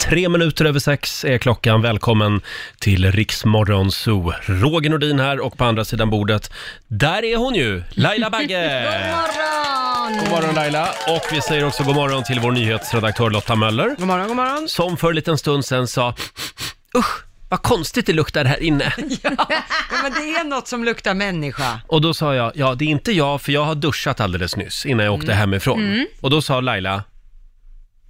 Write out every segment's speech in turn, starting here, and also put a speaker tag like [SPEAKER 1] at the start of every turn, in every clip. [SPEAKER 1] Tre minuter över sex är klockan. Välkommen till Riksmorgon Zoo. Roger Nordin här och på andra sidan bordet, där är hon ju, Laila Bagge!
[SPEAKER 2] morgon!
[SPEAKER 1] God morgon Laila! Och vi säger också god morgon till vår nyhetsredaktör Lotta Möller.
[SPEAKER 3] God morgon, god morgon.
[SPEAKER 1] Som för en liten stund sedan sa, usch vad konstigt det luktar här inne.
[SPEAKER 3] Ja, men det är något som luktar människa.
[SPEAKER 1] Och då sa jag, ja det är inte jag för jag har duschat alldeles nyss innan jag åkte
[SPEAKER 3] Mm.
[SPEAKER 1] hemifrån. Och då sa Laila,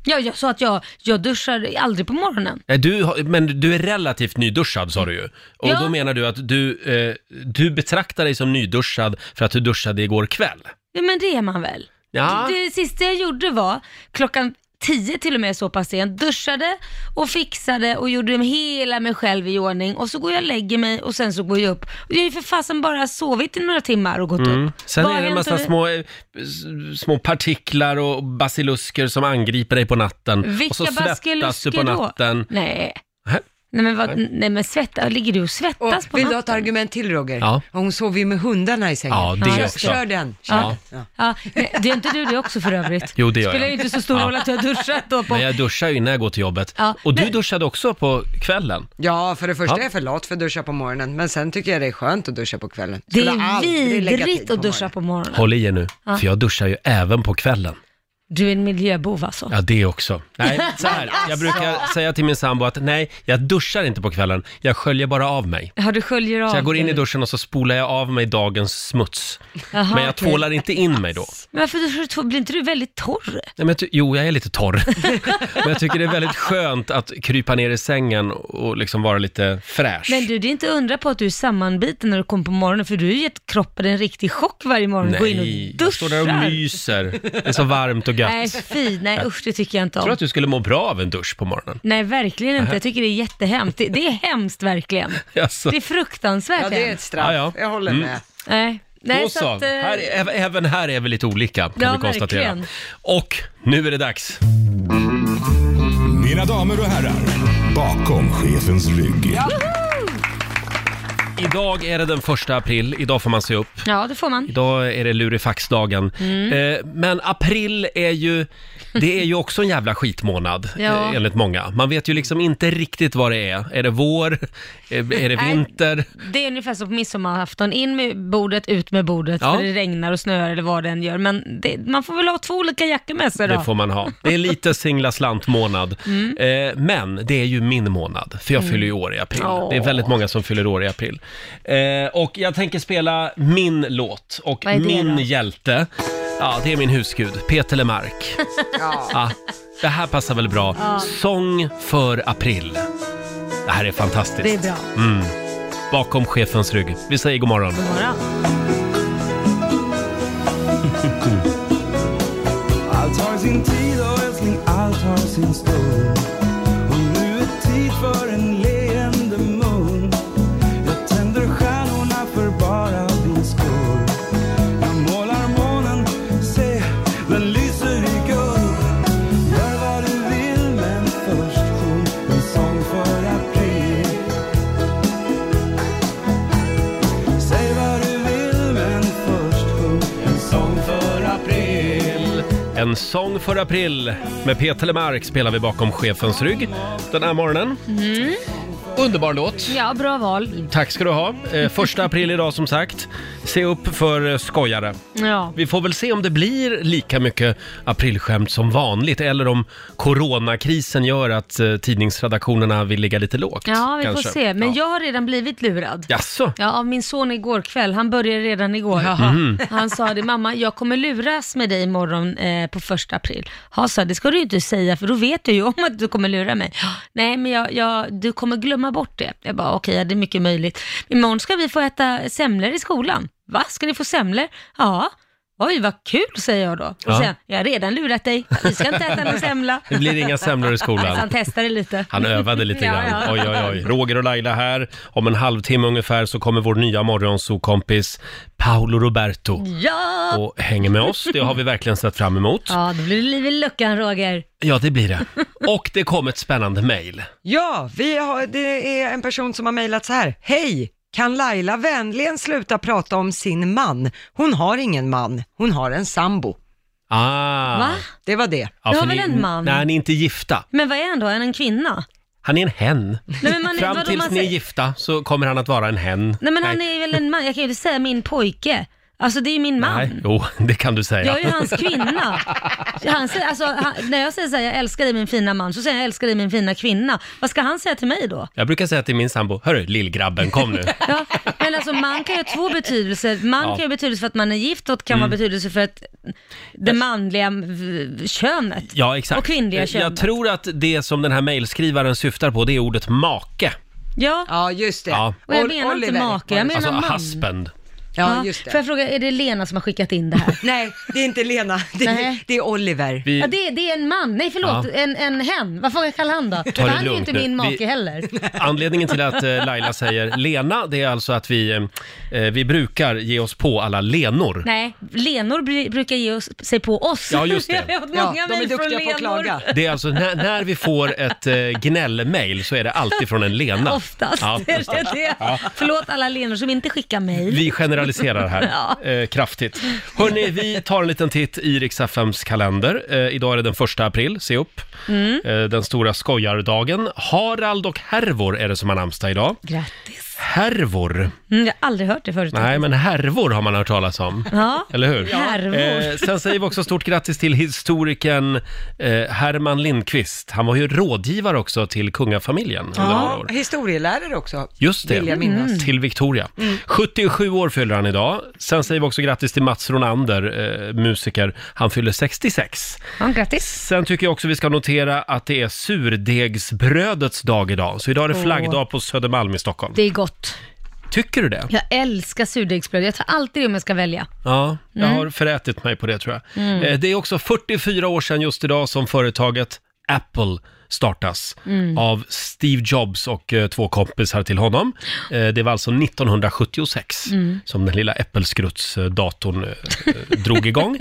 [SPEAKER 2] Ja, jag sa att jag, jag duschar aldrig på morgonen.
[SPEAKER 1] "Nej, du, har- men du är relativt nyduschad sa du ju. Och
[SPEAKER 2] Ja.
[SPEAKER 1] då menar du att du, eh, du betraktar dig som nyduschad för att du duschade igår kväll.
[SPEAKER 2] Ja, men det är man väl?
[SPEAKER 1] Ja,
[SPEAKER 2] Det sista jag gjorde var klockan tio till och med så pass sent, duschade och fixade och gjorde hela mig själv i ordning och så går jag och lägger mig och sen så går jag upp. Jag har ju för fasen bara sovit i några timmar och gått upp.
[SPEAKER 1] Mm. Sen
[SPEAKER 2] Vad
[SPEAKER 1] är det en
[SPEAKER 2] hänt
[SPEAKER 1] massa
[SPEAKER 2] över-
[SPEAKER 1] små, eh, s- små partiklar och basilusker som angriper dig på natten. Mm. och så
[SPEAKER 2] Vilka
[SPEAKER 1] svettas du
[SPEAKER 2] baskelusker
[SPEAKER 1] på
[SPEAKER 2] då?
[SPEAKER 1] natten.
[SPEAKER 2] Nej.
[SPEAKER 1] Hä?
[SPEAKER 2] Nej men, vad, nej men svetta, ligger du och
[SPEAKER 3] Och
[SPEAKER 2] svettas på
[SPEAKER 3] vill du ha
[SPEAKER 2] natten?
[SPEAKER 3] ett argument till Roger?
[SPEAKER 1] Ja.
[SPEAKER 3] Hon sover ju med hundarna i sängen.
[SPEAKER 1] Ja, det
[SPEAKER 3] kör,
[SPEAKER 1] också.
[SPEAKER 3] kör den. Kör.
[SPEAKER 1] Ja.
[SPEAKER 3] Ja.
[SPEAKER 2] Ja, nej, det är inte du det också för övrigt?
[SPEAKER 1] Jo, det gör
[SPEAKER 2] Spelar
[SPEAKER 1] jag.
[SPEAKER 2] ju inte så stor
[SPEAKER 1] Ja.
[SPEAKER 2] roll att du har duschat då på...
[SPEAKER 1] Men jag duschar ju innan jag går till jobbet.
[SPEAKER 2] Ja,
[SPEAKER 1] och du
[SPEAKER 2] men-
[SPEAKER 1] duschade också på kvällen.
[SPEAKER 3] Ja, för det första
[SPEAKER 1] Ja.
[SPEAKER 3] är jag för lat för att duscha på morgonen, men sen tycker jag det är skönt att duscha på kvällen.
[SPEAKER 2] Det
[SPEAKER 3] Skulle
[SPEAKER 2] är
[SPEAKER 3] aldrig lägga tid
[SPEAKER 2] vidrigt att duscha
[SPEAKER 3] morgonen.
[SPEAKER 2] på morgonen.
[SPEAKER 1] Håll i er nu,
[SPEAKER 2] Ja.
[SPEAKER 1] för jag duschar ju även på kvällen.
[SPEAKER 2] Du är en miljöbov alltså.
[SPEAKER 1] Ja, det också. Nej, så här. Jag brukar säga till min sambo att nej, jag duschar inte på kvällen. Jag sköljer bara av mig.
[SPEAKER 2] Ja, du sköljer av
[SPEAKER 1] Så jag går in
[SPEAKER 2] dig.
[SPEAKER 1] i duschen och så spolar jag av mig dagens smuts.
[SPEAKER 2] Jaha,
[SPEAKER 1] Men jag
[SPEAKER 2] okej.
[SPEAKER 1] tvålar inte in mig då.
[SPEAKER 2] Men varför duschar du två- Blir inte du väldigt torr?
[SPEAKER 1] Nej, men jag ty- jo, jag är lite torr. men jag tycker det är väldigt skönt att krypa ner i sängen och liksom vara lite fräsch.
[SPEAKER 2] Men du, det är inte undra på att du är sammanbiten när du kommer på morgonen, för du har ju gett kroppen en riktig chock varje morgon. Gå in och
[SPEAKER 1] Nej,
[SPEAKER 2] duschar.
[SPEAKER 1] jag står där och myser. Det är så varmt och gött.
[SPEAKER 2] Nej, fy, nej usch, det tycker jag inte
[SPEAKER 1] Jag
[SPEAKER 2] om.
[SPEAKER 1] tror att du skulle må bra av en dusch på morgonen.
[SPEAKER 2] Nej, verkligen inte. Jag tycker det är jättehemskt. Det, det är hemskt verkligen.
[SPEAKER 1] Jaså.
[SPEAKER 2] Det är fruktansvärt
[SPEAKER 3] Ja, det är ett
[SPEAKER 2] hemskt.
[SPEAKER 3] straff.
[SPEAKER 1] Alltså. Ja, Mm. ja.
[SPEAKER 3] Jag håller med.
[SPEAKER 2] Nej, nej
[SPEAKER 1] Då så,
[SPEAKER 2] att, eh,
[SPEAKER 1] här, är- även här är vi lite olika kan
[SPEAKER 2] Ja,
[SPEAKER 1] vi konstatera.
[SPEAKER 2] verkligen.
[SPEAKER 1] Och nu är det dags.
[SPEAKER 4] Mina damer och herrar, bakom chefens rygg.
[SPEAKER 1] Idag är det den första april, idag får man se upp.
[SPEAKER 2] Ja, det får man.
[SPEAKER 1] Idag är det lurifaxdagen.
[SPEAKER 2] Mm.
[SPEAKER 1] Eh, men april är ju, det är ju också en jävla skitmånad
[SPEAKER 2] Ja.
[SPEAKER 1] eh, enligt många. Man vet ju liksom inte riktigt vad det är. Är det vår? Eh, Är det
[SPEAKER 2] Nej.
[SPEAKER 1] vinter?
[SPEAKER 2] Det är ungefär som på midsommarafton, in med bordet, ut med bordet,
[SPEAKER 1] Ja.
[SPEAKER 2] för det regnar och snöar eller vad det än gör. Men det, man får väl ha två olika jackor med sig då. Mm.
[SPEAKER 1] Det får man ha. Det är lite singla slant-månad. Eh, men det är ju min månad, för jag fyller ju år i april.
[SPEAKER 2] Åh.
[SPEAKER 1] Det är väldigt många som fyller år i april. Eh, och jag tänker spela min låt och
[SPEAKER 2] Vad är det
[SPEAKER 1] min
[SPEAKER 2] då?
[SPEAKER 1] hjälte. Ja, det är min husgud, Peter Lemark.
[SPEAKER 3] Ja.
[SPEAKER 1] Ja, det här passar väl bra. Sång för april. Det här är fantastiskt. Mm.
[SPEAKER 2] Det är bra.
[SPEAKER 1] Bakom chefens rygg. Vi säger god morgon.
[SPEAKER 2] God morgon.
[SPEAKER 5] Allt har sin tid och älskling, allt har sin stund. Och nu är tid för en leende mun. Jag tänder stjärnorna för bara din skull. Jag målar månen, se, den lyser i guld. Gör vad du vill, men först sjung en sång för april. Säg vad du vill, men först sjung en sång för april.
[SPEAKER 1] En sång för april med Peter Lemark spelar vi bakom chefens rygg den här morgonen.
[SPEAKER 2] Mm.
[SPEAKER 1] Underbar låt.
[SPEAKER 2] Ja, bra val.
[SPEAKER 1] Tack ska du ha. Eh, första april idag som sagt. Se upp för eh, skojare.
[SPEAKER 2] Ja.
[SPEAKER 1] Vi får väl se om det blir lika mycket aprilskämt som vanligt eller om coronakrisen gör att eh, tidningsredaktionerna vill ligga lite lågt.
[SPEAKER 2] Ja, vi
[SPEAKER 1] kanske.
[SPEAKER 2] får se. Men
[SPEAKER 1] Ja.
[SPEAKER 2] jag har redan blivit lurad.
[SPEAKER 1] Jaså?
[SPEAKER 2] Ja, av min son igår kväll. Han började redan igår.
[SPEAKER 1] Mhm.
[SPEAKER 2] Han sa det, mamma, jag kommer luras med dig imorgon eh, på första april. Ja, sa jag, det ska du ju inte säga, för då vet du ju om att du kommer lura mig. Nej, men jag, jag, du kommer glömma bort det. Jag bara, okej, ja, det är mycket möjligt. Imorgon ska vi få äta semlor i skolan. Va, ska ni få semlor? Ja. Oj, vad kul, säger jag då. Och
[SPEAKER 1] Ja.
[SPEAKER 2] sen, jag har redan lurat dig. Vi ska inte äta någon semla.
[SPEAKER 1] Det blir inga semlor i
[SPEAKER 2] Så
[SPEAKER 1] skolan.
[SPEAKER 2] han testade lite.
[SPEAKER 1] Han övade lite
[SPEAKER 2] Ja,
[SPEAKER 1] grann.
[SPEAKER 2] ja.
[SPEAKER 1] Oj, oj, oj. Roger och Laila här. Om en halvtimme ungefär så kommer vår nya morgonsokompis Paolo Roberto
[SPEAKER 2] Ja!
[SPEAKER 1] och hänger med oss. Det har vi verkligen sett fram emot.
[SPEAKER 2] Mm. Ja, då blir det liv i luckan Roger.
[SPEAKER 1] Ja, det blir det. Och det kom ett spännande mejl.
[SPEAKER 3] Ja, vi har, det är en person som har mejlat så här. Hej! Kan Laila vänligen sluta prata om sin man? Hon har ingen man, hon har en sambo.
[SPEAKER 1] Ah.
[SPEAKER 2] Va?
[SPEAKER 3] Det var det.
[SPEAKER 2] Det
[SPEAKER 1] för
[SPEAKER 2] var väl
[SPEAKER 1] ni-
[SPEAKER 2] en man?
[SPEAKER 1] Nej, ni är inte gifta.
[SPEAKER 2] Men vad är han då? Är han en kvinna?
[SPEAKER 1] Han är en hen.
[SPEAKER 2] Nej, men man,
[SPEAKER 1] Fram
[SPEAKER 2] vadå,
[SPEAKER 1] tills
[SPEAKER 2] man
[SPEAKER 1] ni är
[SPEAKER 2] säger-
[SPEAKER 1] gifta så kommer han att vara en hen.
[SPEAKER 2] Nej men han är väl en man, jag kan ju inte säga min pojke. Alltså det är ju min man.
[SPEAKER 1] Nej, jo, det kan du säga.
[SPEAKER 2] Jag är ju hans kvinna. Han säger, alltså, han, när jag säger så här, jag älskar dig min fina man, så säger jag, jag älskar dig min fina kvinna. Vad ska han säga till mig då?
[SPEAKER 1] Jag brukar säga till min sambo, hörru lillgrabben, kom nu.
[SPEAKER 2] Ja, men alltså man kan ju ha två betydelser. Man kan ju ha betydelse för att man är gift och
[SPEAKER 1] Mm.
[SPEAKER 2] kan vara betydelse för att det manliga v- könet.
[SPEAKER 1] Ja, exakt.
[SPEAKER 2] Och kvinnliga
[SPEAKER 1] Eh, Jag
[SPEAKER 2] könet.
[SPEAKER 1] tror att det som den här mejlskrivaren syftar på, det är ordet make.
[SPEAKER 2] Ja,
[SPEAKER 3] Ja, just det.
[SPEAKER 1] Ja.
[SPEAKER 2] och jag
[SPEAKER 3] Ol-
[SPEAKER 2] menar inte
[SPEAKER 3] Oliver.
[SPEAKER 2] make, jag menar
[SPEAKER 1] Alltså
[SPEAKER 2] man.
[SPEAKER 1] husband.
[SPEAKER 3] Ja, just
[SPEAKER 2] Får
[SPEAKER 3] det.
[SPEAKER 2] jag fråga, är det Lena som har skickat in det här?
[SPEAKER 3] Nej, det är inte Lena. Det
[SPEAKER 2] Nej.
[SPEAKER 3] är, det är Oliver.
[SPEAKER 1] Vi
[SPEAKER 2] Ja, det, det är en man, nej förlåt,
[SPEAKER 1] Ja.
[SPEAKER 2] en, en hen. Vad får jag kalla han då? För
[SPEAKER 1] det
[SPEAKER 2] han är ju
[SPEAKER 1] lugnt
[SPEAKER 2] inte
[SPEAKER 1] nu.
[SPEAKER 2] min make
[SPEAKER 1] Vi-
[SPEAKER 2] heller.
[SPEAKER 1] Anledningen till att eh, Laila säger Lena, det är alltså att vi, eh, eh, vi brukar ge oss på alla Lenor.
[SPEAKER 2] Nej, Lenor bry- brukar ge oss, sig på oss.
[SPEAKER 1] Ja, just det.
[SPEAKER 2] Jag har fått
[SPEAKER 3] Ja,
[SPEAKER 2] många
[SPEAKER 3] de är
[SPEAKER 2] mejl från
[SPEAKER 3] duktiga på att
[SPEAKER 2] Lenor.
[SPEAKER 3] klaga.
[SPEAKER 1] Det är alltså när, när vi får ett eh, gnällmail så är det alltid från en Lena.
[SPEAKER 2] Oftast
[SPEAKER 1] Ja.
[SPEAKER 2] är det det. Förlåt alla Lenor som inte skickar mejl.
[SPEAKER 1] Vi generaliserar här eh, kraftigt. Hörni, vi tar en liten titt i riks FMs kalender. Eh, idag är det den första april, se upp.
[SPEAKER 2] Mm.
[SPEAKER 1] Eh, den stora skojardagen. Harald och Hervor är det som har namnsdag idag.
[SPEAKER 2] Grattis.
[SPEAKER 1] Hervor?
[SPEAKER 2] Mm, jag har aldrig hört det förut.
[SPEAKER 1] Nej, men härvor har man hört talas om.
[SPEAKER 2] Ja.
[SPEAKER 1] Eller hur?
[SPEAKER 2] Härvor.
[SPEAKER 1] Eh, sen säger vi också stort grattis till historikern eh, Herman Lindqvist. Han var ju rådgivare också till kungafamiljen under många
[SPEAKER 3] Ja,
[SPEAKER 1] år.
[SPEAKER 3] historielärare också.
[SPEAKER 1] Just det, Mm.
[SPEAKER 3] Vill jag minnas.
[SPEAKER 1] till Victoria. 77 år fyller han idag. Sen säger vi också grattis till Mats Ronander, eh, musiker. Han fyller 66.
[SPEAKER 2] Ja, grattis.
[SPEAKER 1] Sen tycker jag också vi ska notera att det är surdegsbrödets dag idag. Så idag är det flaggdag på Södermalm i Stockholm.
[SPEAKER 2] Det är gott.
[SPEAKER 1] Tycker du det?
[SPEAKER 2] Jag älskar surdegsbröd. Jag tar alltid det om jag ska välja.
[SPEAKER 1] Ja, jag har
[SPEAKER 2] Mm.
[SPEAKER 1] förätit mig på det tror jag. Eh, Det är också 44 år sedan just idag som företaget Apple startas
[SPEAKER 2] Mm.
[SPEAKER 1] av Steve Jobs och eh, två kompisar till honom. Eh, Det var alltså 1976
[SPEAKER 2] Mm.
[SPEAKER 1] som den lilla Äppelskruts-datorn eh, drog igång.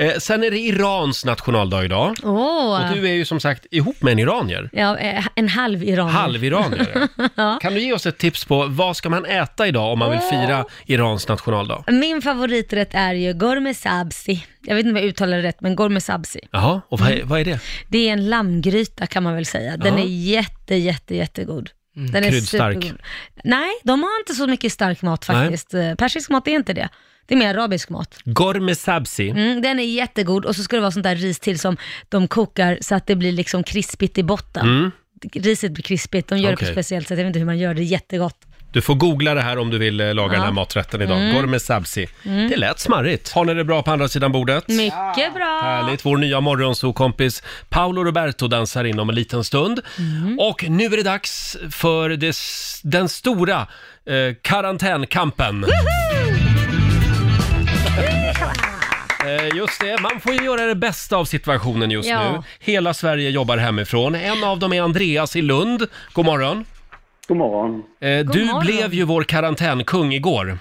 [SPEAKER 1] Eh, Sen är det Irans nationaldag idag.
[SPEAKER 2] Åh!
[SPEAKER 1] Och du är ju som sagt ihop med en iranier.
[SPEAKER 2] Ja, eh, en halv iran.
[SPEAKER 1] Halviranier.
[SPEAKER 2] Ja.
[SPEAKER 1] Kan du ge oss ett tips på vad ska man äta idag om man vill fira Irans nationaldag?
[SPEAKER 2] Min favoriträtt är ju gourmet sabzi. Jag vet inte om jag uttalar det rätt, men gourmet sabzi.
[SPEAKER 1] Jaha, och vad är, vad är det?
[SPEAKER 2] Det är en lammgryta kan man väl säga. Den
[SPEAKER 1] Ja. Mm,
[SPEAKER 2] är jätte, jätte, jättegod. Den är
[SPEAKER 1] Kryddstark.
[SPEAKER 2] supergod. Nej, de har inte så mycket stark mat
[SPEAKER 1] Nej.
[SPEAKER 2] faktiskt. Eh, Persisk mat är inte det. Det är mer arabisk mat.
[SPEAKER 1] Gorme sabzi.
[SPEAKER 2] Mm, den är jättegod och så ska det vara sånt där ris till som de kokar så att det blir liksom krispigt i botten. Riset blir krispigt, de gör det på
[SPEAKER 1] Mm. Okej.
[SPEAKER 2] ett speciellt sätt. Jag vet inte hur man gör det, jättegott.
[SPEAKER 1] Du får googla det här om du vill eh, laga den här maträtten idag. Gourmet sabzi. Det lät smarrigt. Har ni det bra på andra sidan bordet?
[SPEAKER 2] Mycket bra!
[SPEAKER 1] Härligt. Vår nya morgonsokompis Paolo Roberto dansar in om en liten stund. Och nu är det dags för det, s- den stora eh, karantänkampen. Eh, Just det, man får ju göra det bästa av situationen just
[SPEAKER 2] Ja.
[SPEAKER 1] nu. Hela Sverige jobbar hemifrån. En av dem är Andreas i Lund. God morgon.
[SPEAKER 6] God morgon.
[SPEAKER 1] Eh, du
[SPEAKER 2] morgon.
[SPEAKER 1] blev ju vår karantänkung igår.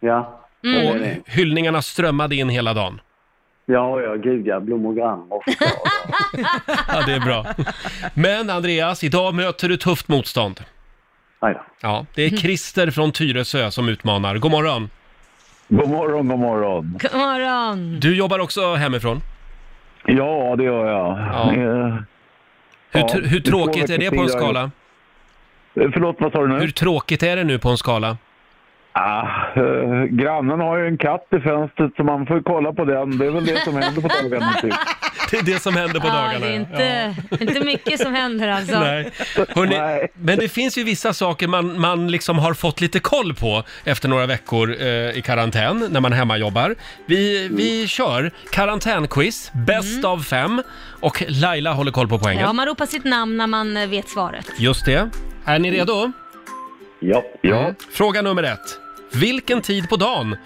[SPEAKER 6] Ja.
[SPEAKER 1] Och hyllningarna strömmade in hela dagen.
[SPEAKER 6] Ja, ja, gud ja. Blommor, gram och choklad.
[SPEAKER 1] Ja, det är bra. Men Andreas, idag möter du tufft motstånd.
[SPEAKER 6] Aj då.
[SPEAKER 1] Ja, det är Christer från Tyresö som utmanar. God morgon!
[SPEAKER 7] God morgon, god morgon.
[SPEAKER 2] God morgon!
[SPEAKER 1] Du jobbar också hemifrån.
[SPEAKER 7] Ja, det gör jag.
[SPEAKER 1] Ja.
[SPEAKER 7] Eh,
[SPEAKER 1] Hur,
[SPEAKER 7] Ja,
[SPEAKER 1] tr- hur
[SPEAKER 7] det är två
[SPEAKER 1] tråkigt är det
[SPEAKER 7] veckors
[SPEAKER 1] på en
[SPEAKER 7] tid jag har
[SPEAKER 1] skala?
[SPEAKER 7] Förlåt, vad sa du nu?
[SPEAKER 1] Hur tråkigt är det nu på en skala?
[SPEAKER 7] Ah, eh, grannen har ju en katt i fönstret så man får ju kolla på den. Det är väl det som händer på dagarna. Typ.
[SPEAKER 1] Det är det som händer på
[SPEAKER 2] Ja,
[SPEAKER 1] dagarna.
[SPEAKER 2] Ah, det är
[SPEAKER 1] ja.
[SPEAKER 2] inte, inte mycket som händer alltså.
[SPEAKER 1] Nej. Hörrni,
[SPEAKER 7] Nej.
[SPEAKER 1] men det finns ju vissa saker man, man liksom har fått lite koll på efter några veckor eh, i karantän när man hemmajobbar. Vi, vi kör karantänquiz, bäst av fem och Laila håller koll på poängen.
[SPEAKER 2] Mm. Ja, man ropar sitt namn när man eh, vet svaret.
[SPEAKER 1] Just det. Är ni redo?
[SPEAKER 6] Ja.
[SPEAKER 7] Ja. Mm.
[SPEAKER 1] Fråga nummer ett. Vilken tid på dagen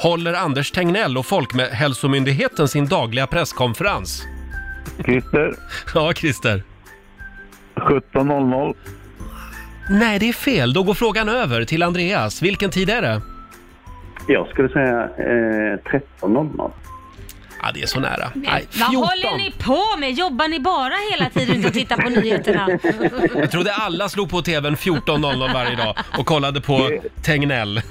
[SPEAKER 1] håller Anders Tegnell och Folkhälsomyndigheten sin dagliga presskonferens?
[SPEAKER 7] Christer,
[SPEAKER 1] Ja, Christer.
[SPEAKER 7] 17.00.
[SPEAKER 1] Nej, det är fel. Då går frågan över till Andreas. Vilken tid är det?
[SPEAKER 6] Jag skulle säga eh, 13.00.
[SPEAKER 1] Ja, det är så nära. Nej,
[SPEAKER 2] Vad
[SPEAKER 1] 14.
[SPEAKER 2] håller ni på med? Jobbar ni bara hela tiden och tittar på nyheterna?
[SPEAKER 1] Jag trodde alla slog på tvn 14.00 varje dag och kollade på Tegnell.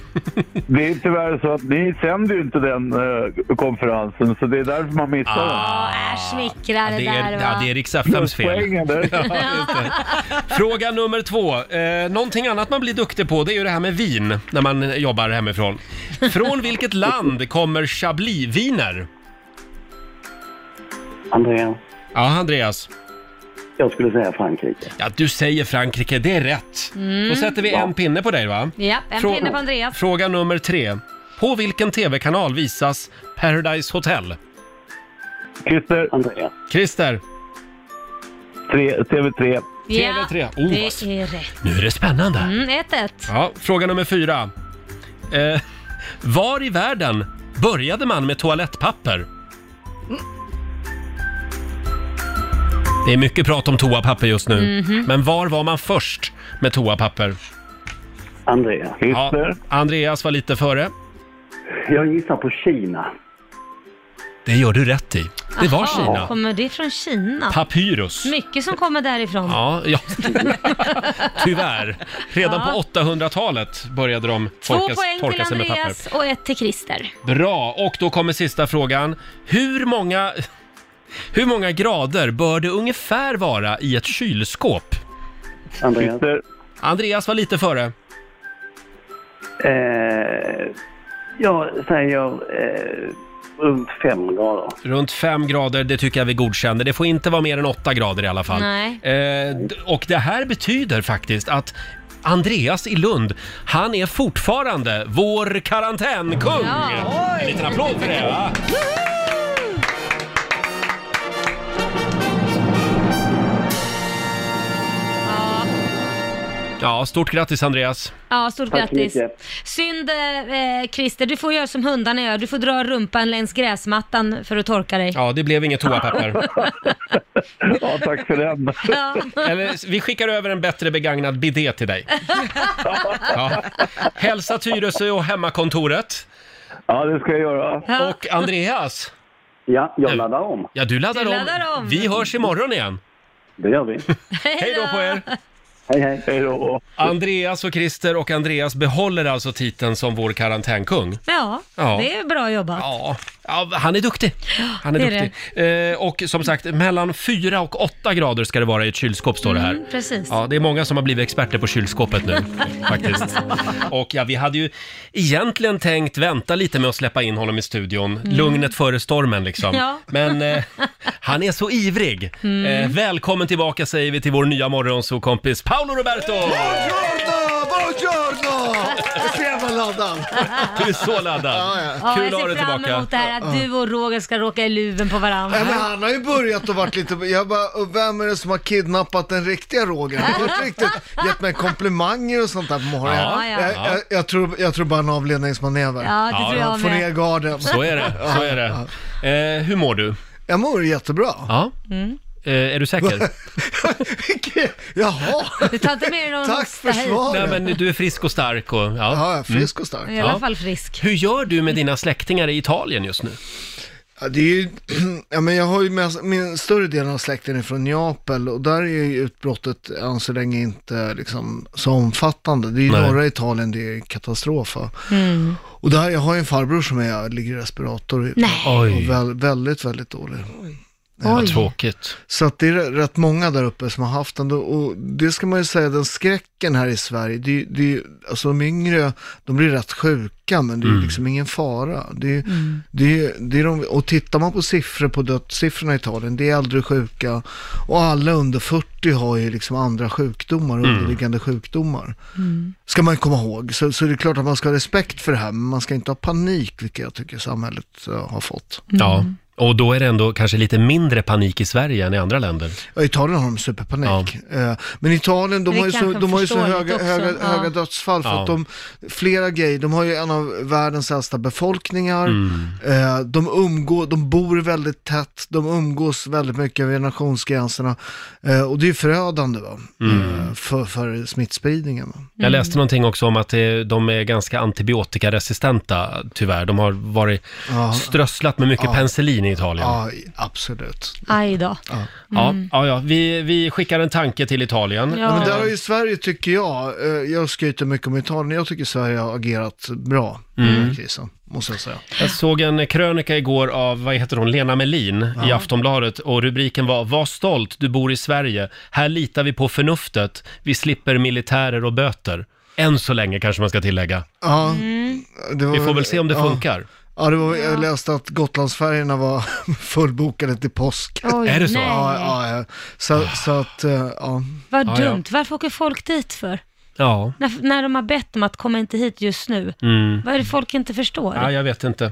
[SPEAKER 7] Det är tyvärr så att ni sänder ju inte den eh, konferensen, så det är därför man missar den.
[SPEAKER 8] Ah.
[SPEAKER 2] Ja, Äsch, smickrar
[SPEAKER 1] Ja,
[SPEAKER 2] det
[SPEAKER 1] Ah, det
[SPEAKER 2] där
[SPEAKER 1] är,
[SPEAKER 2] va?
[SPEAKER 1] ja, det är Rix FMs fel.
[SPEAKER 7] Poängen där.
[SPEAKER 1] Fråga nummer två. Eh, någonting annat man blir duktig på det är ju det här med vin när man jobbar hemifrån. Från vilket land kommer chablisviner?
[SPEAKER 6] Andreas,
[SPEAKER 1] Ja, Andreas.
[SPEAKER 6] jag skulle säga Frankrike.
[SPEAKER 1] Ja, du säger Frankrike, det är rätt. Då sätter vi en pinne på dig va?
[SPEAKER 2] Mm. Ja, en
[SPEAKER 1] Frå-
[SPEAKER 2] pinne på Andreas.
[SPEAKER 1] Fråga nummer tre. På vilken tv-kanal visas Paradise Hotel?
[SPEAKER 7] Christer,
[SPEAKER 6] Andreas.
[SPEAKER 1] Christer,
[SPEAKER 7] tre, TV3.
[SPEAKER 1] TV3.
[SPEAKER 2] Ja,
[SPEAKER 1] Oh,
[SPEAKER 2] det
[SPEAKER 1] vad-
[SPEAKER 2] är rätt.
[SPEAKER 1] nu är det spännande.
[SPEAKER 2] Mm, 1-1.
[SPEAKER 1] Ja, fråga nummer fyra. Eh, var i världen började man med toalettpapper? Det är mycket prat om toapapper just nu.
[SPEAKER 2] Mhm.
[SPEAKER 1] Men var var man först med toapapper?
[SPEAKER 6] Andreas.
[SPEAKER 7] Christer,
[SPEAKER 1] Andreas var lite före.
[SPEAKER 6] Jag gissar på Kina.
[SPEAKER 1] Det gör du rätt i. Det var
[SPEAKER 2] Jaha,
[SPEAKER 1] Kina.
[SPEAKER 2] Kommer det från Kina?
[SPEAKER 1] Papyrus.
[SPEAKER 2] Mycket som kommer därifrån.
[SPEAKER 1] Ja, ja. tyvärr. Redan på 800-talet började de
[SPEAKER 2] Två
[SPEAKER 1] torka,
[SPEAKER 2] poäng
[SPEAKER 1] torka
[SPEAKER 2] till
[SPEAKER 1] sig med papper.
[SPEAKER 2] Andreas och ett till Christer.
[SPEAKER 1] Bra, och då kommer sista frågan. Hur många, hur många grader bör det ungefär vara i ett kylskåp?
[SPEAKER 6] Andreas.
[SPEAKER 7] Christer,
[SPEAKER 1] Andreas var lite före.
[SPEAKER 6] Eh, jag säger eh, runt fem grader.
[SPEAKER 1] Runt 5 grader, det tycker jag vi godkänner. Det får inte vara mer än 8 grader i alla fall.
[SPEAKER 2] Nej.
[SPEAKER 1] Eh, d- och det här betyder faktiskt att Andreas i Lund, han är fortfarande vår karantänkung!
[SPEAKER 2] Ja.
[SPEAKER 1] En liten applåd för det va? Ja, stort grattis Andreas!
[SPEAKER 2] Ja, stort
[SPEAKER 6] Tack så
[SPEAKER 2] grattis.
[SPEAKER 6] mycket.
[SPEAKER 2] Synd eh, Christer, du får göra som hundarna gör. Du får dra rumpan längs gräsmattan för att torka dig.
[SPEAKER 1] Ja, det blev inget toapapper.
[SPEAKER 7] ja tack för den.
[SPEAKER 2] Ja.
[SPEAKER 1] Eller, vi skickar över en bättre begagnad bidé till dig. Ja. Hälsa Tyresö och hemmakontoret.
[SPEAKER 7] Ja, det ska jag göra.
[SPEAKER 2] Ja.
[SPEAKER 1] Och Andreas,
[SPEAKER 6] Ja, jag laddar om.
[SPEAKER 1] ja du laddar,
[SPEAKER 2] Du laddar om.
[SPEAKER 1] Vi hörs imorgon igen.
[SPEAKER 6] Det gör vi.
[SPEAKER 1] Hej då på er!
[SPEAKER 6] Hej, hej.
[SPEAKER 7] Hej då.
[SPEAKER 1] Andreas och Christer och Andreas behåller alltså titeln som vår karantänkung.
[SPEAKER 2] Ja,
[SPEAKER 1] Ja.
[SPEAKER 2] det är bra jobbat.
[SPEAKER 1] Ja, ja han är duktig. Han är
[SPEAKER 2] det är
[SPEAKER 1] duktig. Eh, och som sagt, mellan 4 och 8 grader ska det vara i ett kylskåp står det här.
[SPEAKER 2] Mm, precis.
[SPEAKER 1] Ja, det är många som har blivit experter på kylskåpet nu faktiskt. Och ja, vi hade ju egentligen tänkt vänta lite med att släppa in honom i studion. Lugnet före stormen liksom.
[SPEAKER 2] Mm. Ja. Mm.
[SPEAKER 1] Men eh, han är så ivrig. Eh, välkommen tillbaka säger vi till vår nya morgonsokompis Paolo Roberto!
[SPEAKER 9] Buongiorno, buongiorno! Så jävla laddad.
[SPEAKER 1] Du är så laddad.
[SPEAKER 2] Ja,
[SPEAKER 1] Kul att
[SPEAKER 2] jag
[SPEAKER 1] ha
[SPEAKER 2] ser
[SPEAKER 1] dig
[SPEAKER 2] fram
[SPEAKER 1] tillbaka.
[SPEAKER 2] emot det här att du och Roger ska råka i luven på varandra.
[SPEAKER 9] Nej, men han har ju börjat och varit lite, jag bara, och vem är det som har kidnappat den riktiga Roger? Han har inte riktigt gett mig komplimanger och sånt där på morgonen.
[SPEAKER 1] Ja,
[SPEAKER 2] ja.
[SPEAKER 9] Jag, jag, jag, tror, jag tror bara en avledningsmanöver.
[SPEAKER 2] Ja, det
[SPEAKER 1] Ja,
[SPEAKER 2] tror jag
[SPEAKER 9] Få ner
[SPEAKER 2] med.
[SPEAKER 9] garden.
[SPEAKER 1] Så är det, så är det. Eh, hur mår du?
[SPEAKER 9] Jag mår jättebra.
[SPEAKER 1] Ja.
[SPEAKER 2] Mm.
[SPEAKER 1] Eh, är du säker?
[SPEAKER 9] Vilket- Jaha,
[SPEAKER 2] Du tar inte med dig någon
[SPEAKER 9] tack
[SPEAKER 2] hosta
[SPEAKER 9] för
[SPEAKER 2] hit.
[SPEAKER 1] Nej,
[SPEAKER 9] svaret.
[SPEAKER 1] men du är frisk och stark och ja. Mm.
[SPEAKER 9] Ja, jag är frisk och stark.
[SPEAKER 2] I alla
[SPEAKER 1] Ja.
[SPEAKER 2] fall frisk.
[SPEAKER 1] Hur gör du med dina släktingar i Italien just nu?
[SPEAKER 9] Ja, det är ju, ja, men jag har ju med, min större del av släkten är från Neapel och där är ju utbrottet än så länge inte liksom, så omfattande. Det är ju
[SPEAKER 1] Nej.
[SPEAKER 9] norra Italien det är katastrof. va? Och där, jag har ju en farbror som är, ligger i respirator
[SPEAKER 2] Nej.
[SPEAKER 1] Oj,
[SPEAKER 9] och väl, väldigt, väldigt dålig.
[SPEAKER 1] vad tråkigt.
[SPEAKER 9] Så att det är rä- rätt många där uppe som har haft den. då- Och det ska man ju säga, den skräcken här i Sverige, det, är ju- det, är ju- alltså de yngre, de blir rätt sjuka, men
[SPEAKER 1] Mm.
[SPEAKER 9] det är ju liksom ingen fara. Det, är- det, är- det är de, och tittar man på siffror, på dödssiffrorna i Italien, det är äldre sjuka och alla under 40 har ju liksom andra sjukdomar,
[SPEAKER 1] Mm.
[SPEAKER 9] underliggande sjukdomar. Ska man ju komma ihåg. Så, så det är klart att man ska ha respekt för det här, men man ska inte ha panik, vilket jag tycker samhället eh, har fått.
[SPEAKER 1] Mm. Ja, och då är det ändå kanske lite mindre panik i Sverige än i andra länder.
[SPEAKER 9] Ja, Italien har de superpanik. Eh, Men Italien, de
[SPEAKER 2] Men det
[SPEAKER 9] har ju så,
[SPEAKER 2] kanske
[SPEAKER 9] de har ju så
[SPEAKER 2] förståeligt
[SPEAKER 9] höga,
[SPEAKER 2] också.
[SPEAKER 9] höga,
[SPEAKER 2] Ja.
[SPEAKER 9] höga dödsfall för
[SPEAKER 1] Ja.
[SPEAKER 9] att de, flera grejer, de har ju en av världens äldsta befolkningar,
[SPEAKER 1] Mm.
[SPEAKER 9] Eh, de umgår, de bor väldigt tätt, de umgås väldigt mycket över generationsgränserna Eh, och det är ju förödande va? Eh, För, för smittspridningen. Va?
[SPEAKER 1] Mm. Jag läste någonting också om att det, de är ganska antibiotikaresistenta, tyvärr. De har varit strösslat med mycket penicillin i Italien.
[SPEAKER 9] Ja, absolut.
[SPEAKER 2] Aj då.
[SPEAKER 1] Ja, ja, ja. Vi, vi skickar en tanke till Italien.
[SPEAKER 2] Ja.
[SPEAKER 9] Men där har ju Sverige, tycker jag, eh, jag skryter mycket om Italien, jag tycker Sverige har agerat bra i
[SPEAKER 1] Mm.
[SPEAKER 9] den här krisen, måste jag säga.
[SPEAKER 1] Jag såg en krönika igår av, vad heter hon, Lena Melin i Aftonbladet och rubriken var “Var stolt, du bor i Sverige. Här litar vi på förnuftet. Vi slipper militärer och böter.” Än så länge kanske man ska tillägga.
[SPEAKER 9] Ja,
[SPEAKER 2] Mm.
[SPEAKER 9] det var
[SPEAKER 1] Vi får
[SPEAKER 9] väl-
[SPEAKER 1] väl se om det
[SPEAKER 9] ja.
[SPEAKER 1] funkar.
[SPEAKER 9] Ja, det var, jag läste att Gotlandsfärjorna var fullbokade till påsk.
[SPEAKER 2] Oj,
[SPEAKER 1] Är det så?
[SPEAKER 2] Nej.
[SPEAKER 9] Ja, ja, ja. Så, så att, eh, ja.
[SPEAKER 2] Vad
[SPEAKER 1] Ja, ja.
[SPEAKER 2] dumt. Varför åker folk dit för?
[SPEAKER 1] Ja.
[SPEAKER 2] När, när de har bett om att komma inte hit just nu.
[SPEAKER 1] Mm.
[SPEAKER 2] Vad är det folk inte förstår?
[SPEAKER 1] Ja, jag vet inte.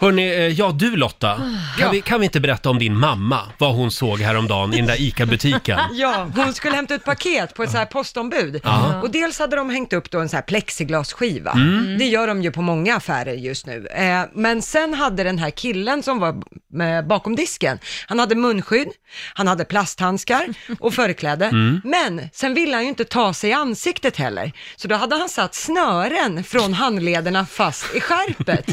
[SPEAKER 1] Hörni, ja du Lotta,
[SPEAKER 2] Ah.
[SPEAKER 1] kan, vi, kan vi inte berätta om din mamma, vad hon såg häromdagen i den där ICA-butiken?
[SPEAKER 3] Ja, hon skulle hämta ett paket på ett så här postombud.
[SPEAKER 1] Ja.
[SPEAKER 3] Och dels hade de hängt upp då en så här plexiglasskiva. Det gör de ju på många affärer just nu. Eh, men sen hade den här killen som var eh, bakom disken, han hade munskydd, han hade plasthandskar och förkläde. Men sen ville han ju inte ta sig i ansiktet heller. Så då hade han satt snören från handlederna fast i skärpet.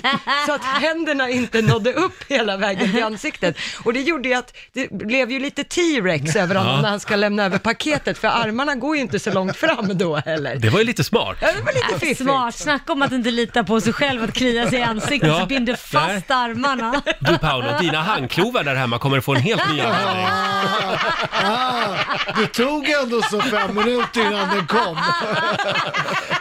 [SPEAKER 3] så att händerna inte nådde upp hela vägen till ansiktet. Och det gjorde ju att det blev ju lite T-rex över honom när han ska lämna över paketet, för armarna går ju inte så långt fram då heller.
[SPEAKER 1] Det var ju lite smart.
[SPEAKER 3] Ja, det var lite fiffigt.
[SPEAKER 2] Smart, snacka om att inte lita på sig själv, att klia sig i ansiktet
[SPEAKER 1] Ja.
[SPEAKER 2] så binder fast armarna.
[SPEAKER 1] Du Paolo, dina handklovar där hemma kommer att få en helt ny användning.
[SPEAKER 9] Ah, det tog ändå så fem minuter innan den kom.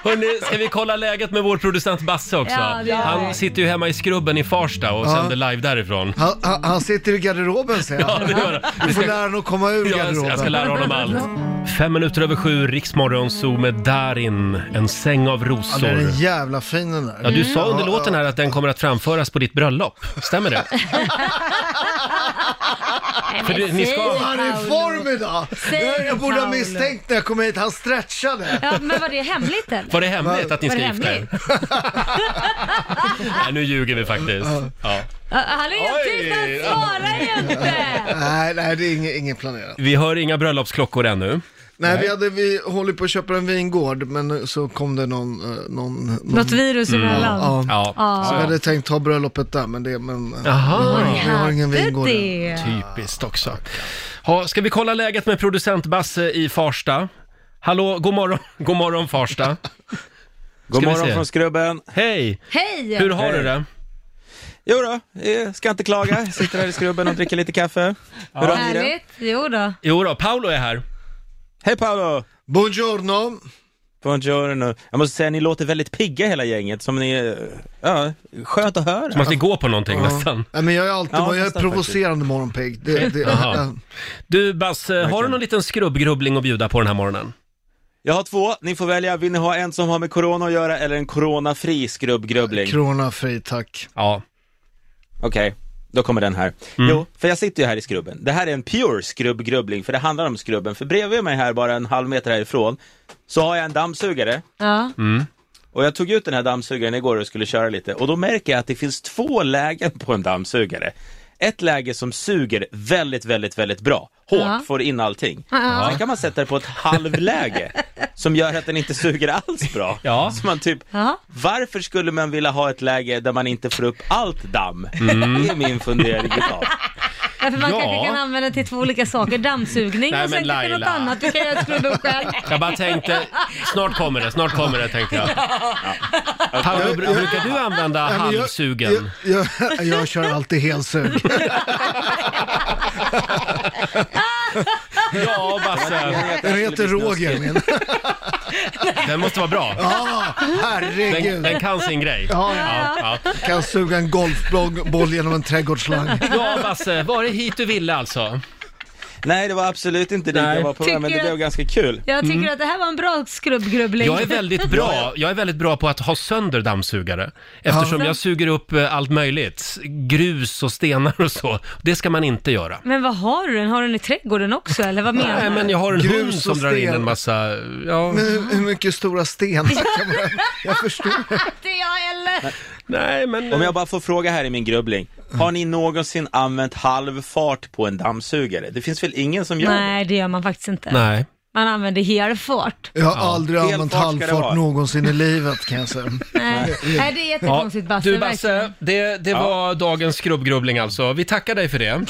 [SPEAKER 1] Hörrni, ska vi kolla läget med vår producent Basse också?
[SPEAKER 2] Ja, det gör
[SPEAKER 1] Han
[SPEAKER 2] vi.
[SPEAKER 1] sitter ju hemma i Skrubben i Farsta och sänder live därifrån.
[SPEAKER 9] Han, han, han sitter i garderoben, säger
[SPEAKER 1] Ja,
[SPEAKER 9] han.
[SPEAKER 1] det gör han. Vi
[SPEAKER 9] Du får
[SPEAKER 1] ska-
[SPEAKER 9] lära honom att komma ur
[SPEAKER 1] Ja, jag ska- jag ska
[SPEAKER 9] garderoben.
[SPEAKER 1] lära honom allt. Fem minuter över sju, Riksmorgon Zoo med Darin, en säng av
[SPEAKER 9] Ja, den är
[SPEAKER 1] rosor.
[SPEAKER 9] jävla fin den där.
[SPEAKER 1] Mm. Ja, du sa under låten här att den kommer att framföras på ditt bröllop. Stämmer det? För det, ni ska...
[SPEAKER 9] Han är i form idag!
[SPEAKER 2] Säg
[SPEAKER 9] Jag, jag borde ha
[SPEAKER 2] Paolo.
[SPEAKER 9] misstänkt när jag kom hit, han stretchade.
[SPEAKER 2] Ja, men var det hemligt eller?
[SPEAKER 1] Var det hemligt att ni
[SPEAKER 2] Var
[SPEAKER 1] ska
[SPEAKER 2] det
[SPEAKER 1] gifta er? Nej, nu ljuger vi faktiskt. Ja.
[SPEAKER 2] Ja, Han är helt
[SPEAKER 1] Oj.
[SPEAKER 2] tyst, han svarar ju inte!
[SPEAKER 9] Nej, nej, det är inget, inget planerat.
[SPEAKER 1] Vi hör inga bröllopsklockor ännu.
[SPEAKER 9] Nej, vi hade vi håller på att köpa en vingård, men så kom det någon... eh, någon, någon
[SPEAKER 2] Något virus
[SPEAKER 9] Ja,
[SPEAKER 2] emellan.
[SPEAKER 9] ja.
[SPEAKER 1] Mm. Ja.
[SPEAKER 2] Ja.
[SPEAKER 9] Så
[SPEAKER 1] Så-
[SPEAKER 9] vi hade tänkt ta bröllopet där, men det... Men, eh,
[SPEAKER 1] Jaha.
[SPEAKER 9] vi har, ingen- vi har ingen
[SPEAKER 2] Hade
[SPEAKER 9] vingård. än.
[SPEAKER 2] det.
[SPEAKER 1] Typiskt också. Ha, ska vi kolla läget med producent Basse i Farsta? Hallå, god morgon, god morgon Farsta.
[SPEAKER 10] God
[SPEAKER 1] Ska vi
[SPEAKER 10] morgon
[SPEAKER 1] se.
[SPEAKER 10] från Skrubben.
[SPEAKER 1] Hej!
[SPEAKER 2] Hej!
[SPEAKER 1] Hur har
[SPEAKER 10] Hej.
[SPEAKER 1] du det?
[SPEAKER 10] Jo då, eh, ska inte klaga. Jag Sitter här i Skrubben och dricker lite kaffe. Hur har ni det?
[SPEAKER 2] Härligt, jo då.
[SPEAKER 1] Jo då, Paolo är här.
[SPEAKER 10] Hej Paolo!
[SPEAKER 9] Buongiorno!
[SPEAKER 10] Buongiorno. Jag måste säga, ni låter väldigt pigga hela gänget, som ni... eh, Ja, skönt att höra.
[SPEAKER 1] Som att vi går på någonting nästan.
[SPEAKER 9] Nej, men jag är alltid
[SPEAKER 10] Ja,
[SPEAKER 9] jag är
[SPEAKER 10] nästan
[SPEAKER 9] provocerande morgonpigg.
[SPEAKER 2] Mm.
[SPEAKER 9] Det, det,
[SPEAKER 1] Jaha.
[SPEAKER 9] ja.
[SPEAKER 1] Du Basse, har du någon liten skrubbgrubbling att bjuda på den här morgonen?
[SPEAKER 10] Jag har två, ni får välja. Vill ni ha en som har med corona att göra eller en coronafri skrubbgrubbling?
[SPEAKER 9] Krona fri, tack.
[SPEAKER 1] Ja. Mm.
[SPEAKER 10] Okej, då kommer den här. Jo, för jag sitter ju här i skrubben. Det här är en pure skrubbgrubbling, för det handlar om skrubben. För bredvid mig här, bara en halv meter härifrån, så har jag en dammsugare.
[SPEAKER 2] Ja.
[SPEAKER 1] Mm.
[SPEAKER 10] Och jag tog ut den här dammsugaren igår och skulle köra lite och då märker jag att det finns två lägen på en dammsugare. Ett läge som suger väldigt, väldigt, väldigt bra. Hårt,
[SPEAKER 2] Ja.
[SPEAKER 10] får in allting.
[SPEAKER 2] Ja.
[SPEAKER 10] Sen kan man sätta det på ett halvläge som gör att den inte suger alls bra.
[SPEAKER 1] Ja.
[SPEAKER 10] Så man typ,
[SPEAKER 2] Ja.
[SPEAKER 10] varför skulle man vilja ha ett läge där man inte får upp allt damm?
[SPEAKER 1] Mm.
[SPEAKER 10] Det är min fundering idag.
[SPEAKER 2] Ja, för man
[SPEAKER 1] Ja.
[SPEAKER 2] kanske kan använda till två olika saker, dammsugning
[SPEAKER 1] Nej, men
[SPEAKER 2] och sen kanske något
[SPEAKER 1] Laila.
[SPEAKER 2] annat du kan göra ett skrubb upp själv.
[SPEAKER 1] Jag bara tänkte, snart kommer det, snart kommer det tänkte jag. Paolo, br- brukar du använda
[SPEAKER 9] Nej, men jag-
[SPEAKER 1] halvsugen?
[SPEAKER 9] Jag, jag, jag kör alltid helsug.
[SPEAKER 1] Ja, Basse.
[SPEAKER 9] Den heter
[SPEAKER 10] skulle bli
[SPEAKER 9] Roger, min.
[SPEAKER 1] Den måste vara bra.
[SPEAKER 9] Ja,
[SPEAKER 1] Den,
[SPEAKER 9] herregud.
[SPEAKER 1] den kan sin grej.
[SPEAKER 9] Ja, ja.
[SPEAKER 1] Ja.
[SPEAKER 9] Kan suga en golfboll genom en trädgårdsslang.
[SPEAKER 1] Ja, Basse, var det hit du ville alltså?
[SPEAKER 10] Nej, det var absolut inte dit
[SPEAKER 1] Nej.
[SPEAKER 10] jag var på väg, men det
[SPEAKER 2] Tycker-
[SPEAKER 10] blev ganska kul.
[SPEAKER 2] Jag tycker att det här var en bra skrubbgrubbling.
[SPEAKER 1] Mm. Jag är väldigt bra, jag är väldigt bra på att ha sönder dammsugare. Eftersom jag suger upp eh, allt möjligt. Grus och stenar och så. Det ska man inte göra.
[SPEAKER 2] Men vad har du den? Har du den i trädgården också eller vad menar
[SPEAKER 1] Nej,
[SPEAKER 2] du?
[SPEAKER 1] men jag har en
[SPEAKER 9] Grus
[SPEAKER 1] hund som
[SPEAKER 9] och
[SPEAKER 1] drar in
[SPEAKER 9] sten.
[SPEAKER 1] en massa... Ja,
[SPEAKER 9] Men hur, hur mycket stora stenar kan man... Jag förstår.
[SPEAKER 2] Inte jag heller!
[SPEAKER 1] nej, men...
[SPEAKER 10] Om jag bara får fråga här i min grubbling. Har ni någonsin använt halv fart på en dammsugare? Det finns väl ingen som gör det?
[SPEAKER 2] Nej, det gör man faktiskt inte.
[SPEAKER 1] Nej.
[SPEAKER 2] Man använder helfart.
[SPEAKER 9] Jag har aldrig
[SPEAKER 10] Fel
[SPEAKER 9] använt
[SPEAKER 10] fart ska det vara.
[SPEAKER 9] halvfart någonsin i livet kan jag säga.
[SPEAKER 2] Nej, Nej det är
[SPEAKER 1] Ja,
[SPEAKER 2] jättekonstigt Basse.
[SPEAKER 1] du Basse,
[SPEAKER 2] verkligen.
[SPEAKER 1] det, det var dagens skrubbgrubbling alltså. Vi tackar dig för det.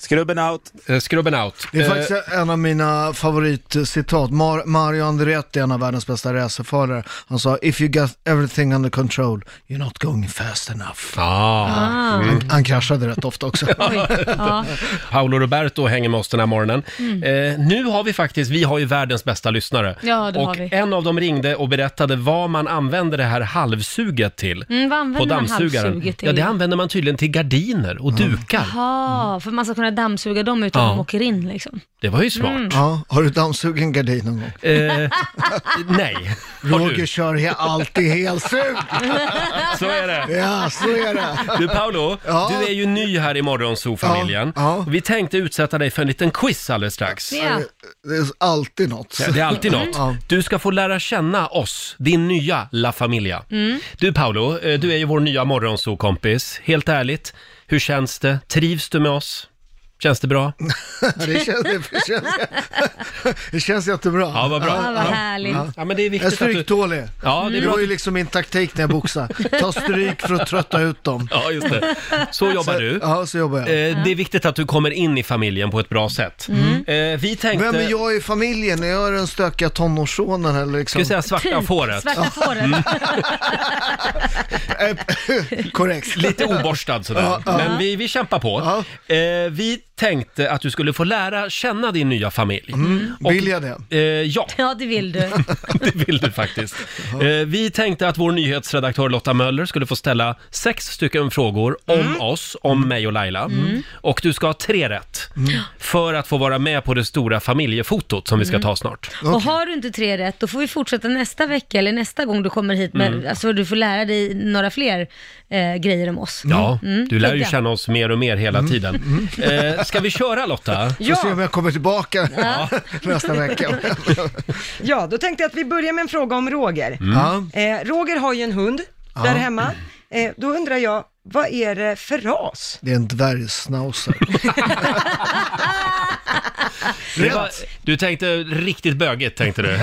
[SPEAKER 10] Skrubben out.
[SPEAKER 1] Eh, Skrubben out.
[SPEAKER 9] Det är
[SPEAKER 1] Eh,
[SPEAKER 9] faktiskt en av mina favoritcitat. Mar- Mario Andretti, en av världens bästa racerförare, han sa “If you got everything under control, you're not going fast enough”.
[SPEAKER 1] Ah,
[SPEAKER 9] Han, han kraschade rätt ofta också.
[SPEAKER 2] Oj, ja.
[SPEAKER 1] Paolo Roberto hänger med oss den här morgonen.
[SPEAKER 2] Mm.
[SPEAKER 1] Eh, nu har vi faktiskt, vi har ju världens bästa lyssnare.
[SPEAKER 2] Ja, det
[SPEAKER 1] och
[SPEAKER 2] har vi.
[SPEAKER 1] en av dem ringde och berättade vad man använder det här halvsuget till.
[SPEAKER 2] Mm, vad
[SPEAKER 1] På
[SPEAKER 2] använder man
[SPEAKER 1] dammsugaren.
[SPEAKER 2] halssuget till?
[SPEAKER 1] Ja, det använder man tydligen till gardiner och dukar.
[SPEAKER 2] Jaha, för man ska kunna dammsuga dem utan
[SPEAKER 1] Ja.
[SPEAKER 2] att de åker in liksom.
[SPEAKER 1] Det var ju smart.
[SPEAKER 10] Mm.
[SPEAKER 9] Ja, har du dammsugit en gardin någon gång?
[SPEAKER 1] Eh, nej, Eh, har
[SPEAKER 9] Roger
[SPEAKER 1] du?
[SPEAKER 9] kör he- alltid helsug.
[SPEAKER 1] Så är det.
[SPEAKER 9] Ja, så är det.
[SPEAKER 1] Du Paolo,
[SPEAKER 9] Ja.
[SPEAKER 1] du är ju ny här i Morgonzoo-familjen.
[SPEAKER 9] Ja, ja.
[SPEAKER 1] Och Vi tänkte utsätta dig för en liten quiz alldeles strax.
[SPEAKER 2] Ja.
[SPEAKER 9] Det är alltid något.
[SPEAKER 1] Det är alltid något.
[SPEAKER 9] Ja.
[SPEAKER 1] Du ska få lära känna oss, din nya La Familia.
[SPEAKER 10] Mm.
[SPEAKER 2] Mm.
[SPEAKER 1] Du Paolo, eh, du är ju vår nya Morgonzoo-kompis. Helt ärligt, hur känns det? Trivs du med oss? Känns det bra?
[SPEAKER 9] Det känns, det, känns, det känns jättebra.
[SPEAKER 1] Ja, vad bra.
[SPEAKER 2] Ja, vad härligt.
[SPEAKER 1] Ja, men det är
[SPEAKER 9] Jag är
[SPEAKER 1] viktigt att du...
[SPEAKER 9] stryktålig.
[SPEAKER 1] Ja, det är
[SPEAKER 9] Det
[SPEAKER 1] bra.
[SPEAKER 9] var
[SPEAKER 1] att
[SPEAKER 9] ju
[SPEAKER 1] du-
[SPEAKER 9] liksom min taktik när jag boxar. Ta stryk för att trötta ut dem.
[SPEAKER 1] Ja, just det. Så jobbar du.
[SPEAKER 9] Ja, så jobbar jag.
[SPEAKER 1] Eh, Det är viktigt att du kommer in i familjen på ett bra sätt.
[SPEAKER 2] Mm.
[SPEAKER 1] Eh, Vi tänkte...
[SPEAKER 9] Vem är jag i familjen? Är jag den stökiga tonårssonen eller
[SPEAKER 1] Ska
[SPEAKER 9] liksom? Mm.
[SPEAKER 1] vi säga svarta fåret?
[SPEAKER 2] Typ.
[SPEAKER 1] Mm.
[SPEAKER 2] Svarta fåret.
[SPEAKER 9] Eh, Korrekt.
[SPEAKER 1] Lite oborstad sådär. Men vi, vi kämpar på. Eh, vi tänkte att du skulle få lära känna din nya familj. Och-
[SPEAKER 9] Mm. Vill jag det?
[SPEAKER 1] Eh, ja,
[SPEAKER 2] Ja, det vill du.
[SPEAKER 1] det vill du faktiskt. Eh, vi tänkte att vår nyhetsredaktör Lotta Möller skulle få ställa sex stycken frågor om
[SPEAKER 2] Mm.
[SPEAKER 1] oss, om mig och Laila. Och du ska ha tre rätt
[SPEAKER 9] Mm.
[SPEAKER 1] för att få vara med på det stora familjefotot som vi
[SPEAKER 2] Mm.
[SPEAKER 1] ska ta snart.
[SPEAKER 2] Och har du inte tre rätt, då får vi fortsätta nästa vecka eller nästa gång du kommer hit med,
[SPEAKER 1] Mm.
[SPEAKER 2] alltså du får lära dig några fler eh, grejer om oss.
[SPEAKER 1] Ja,
[SPEAKER 2] Mm,
[SPEAKER 1] du lär ju
[SPEAKER 2] tugga.
[SPEAKER 1] känna oss mer och mer hela
[SPEAKER 9] Mm.
[SPEAKER 1] tiden. Eh, ska vi köra Lotta?
[SPEAKER 9] Får se om jag kommer tillbaka nästa vecka.
[SPEAKER 3] Ja, då tänkte jag att vi börjar med en fråga om Roger.
[SPEAKER 1] Mm.
[SPEAKER 9] Ja.
[SPEAKER 3] Eh, Roger har ju en hund där hemma. Eh, då undrar jag, vad är det för ras?
[SPEAKER 9] Det är en dvärgsnauser.
[SPEAKER 1] Det var, du tänkte riktigt bögigt tänkte du.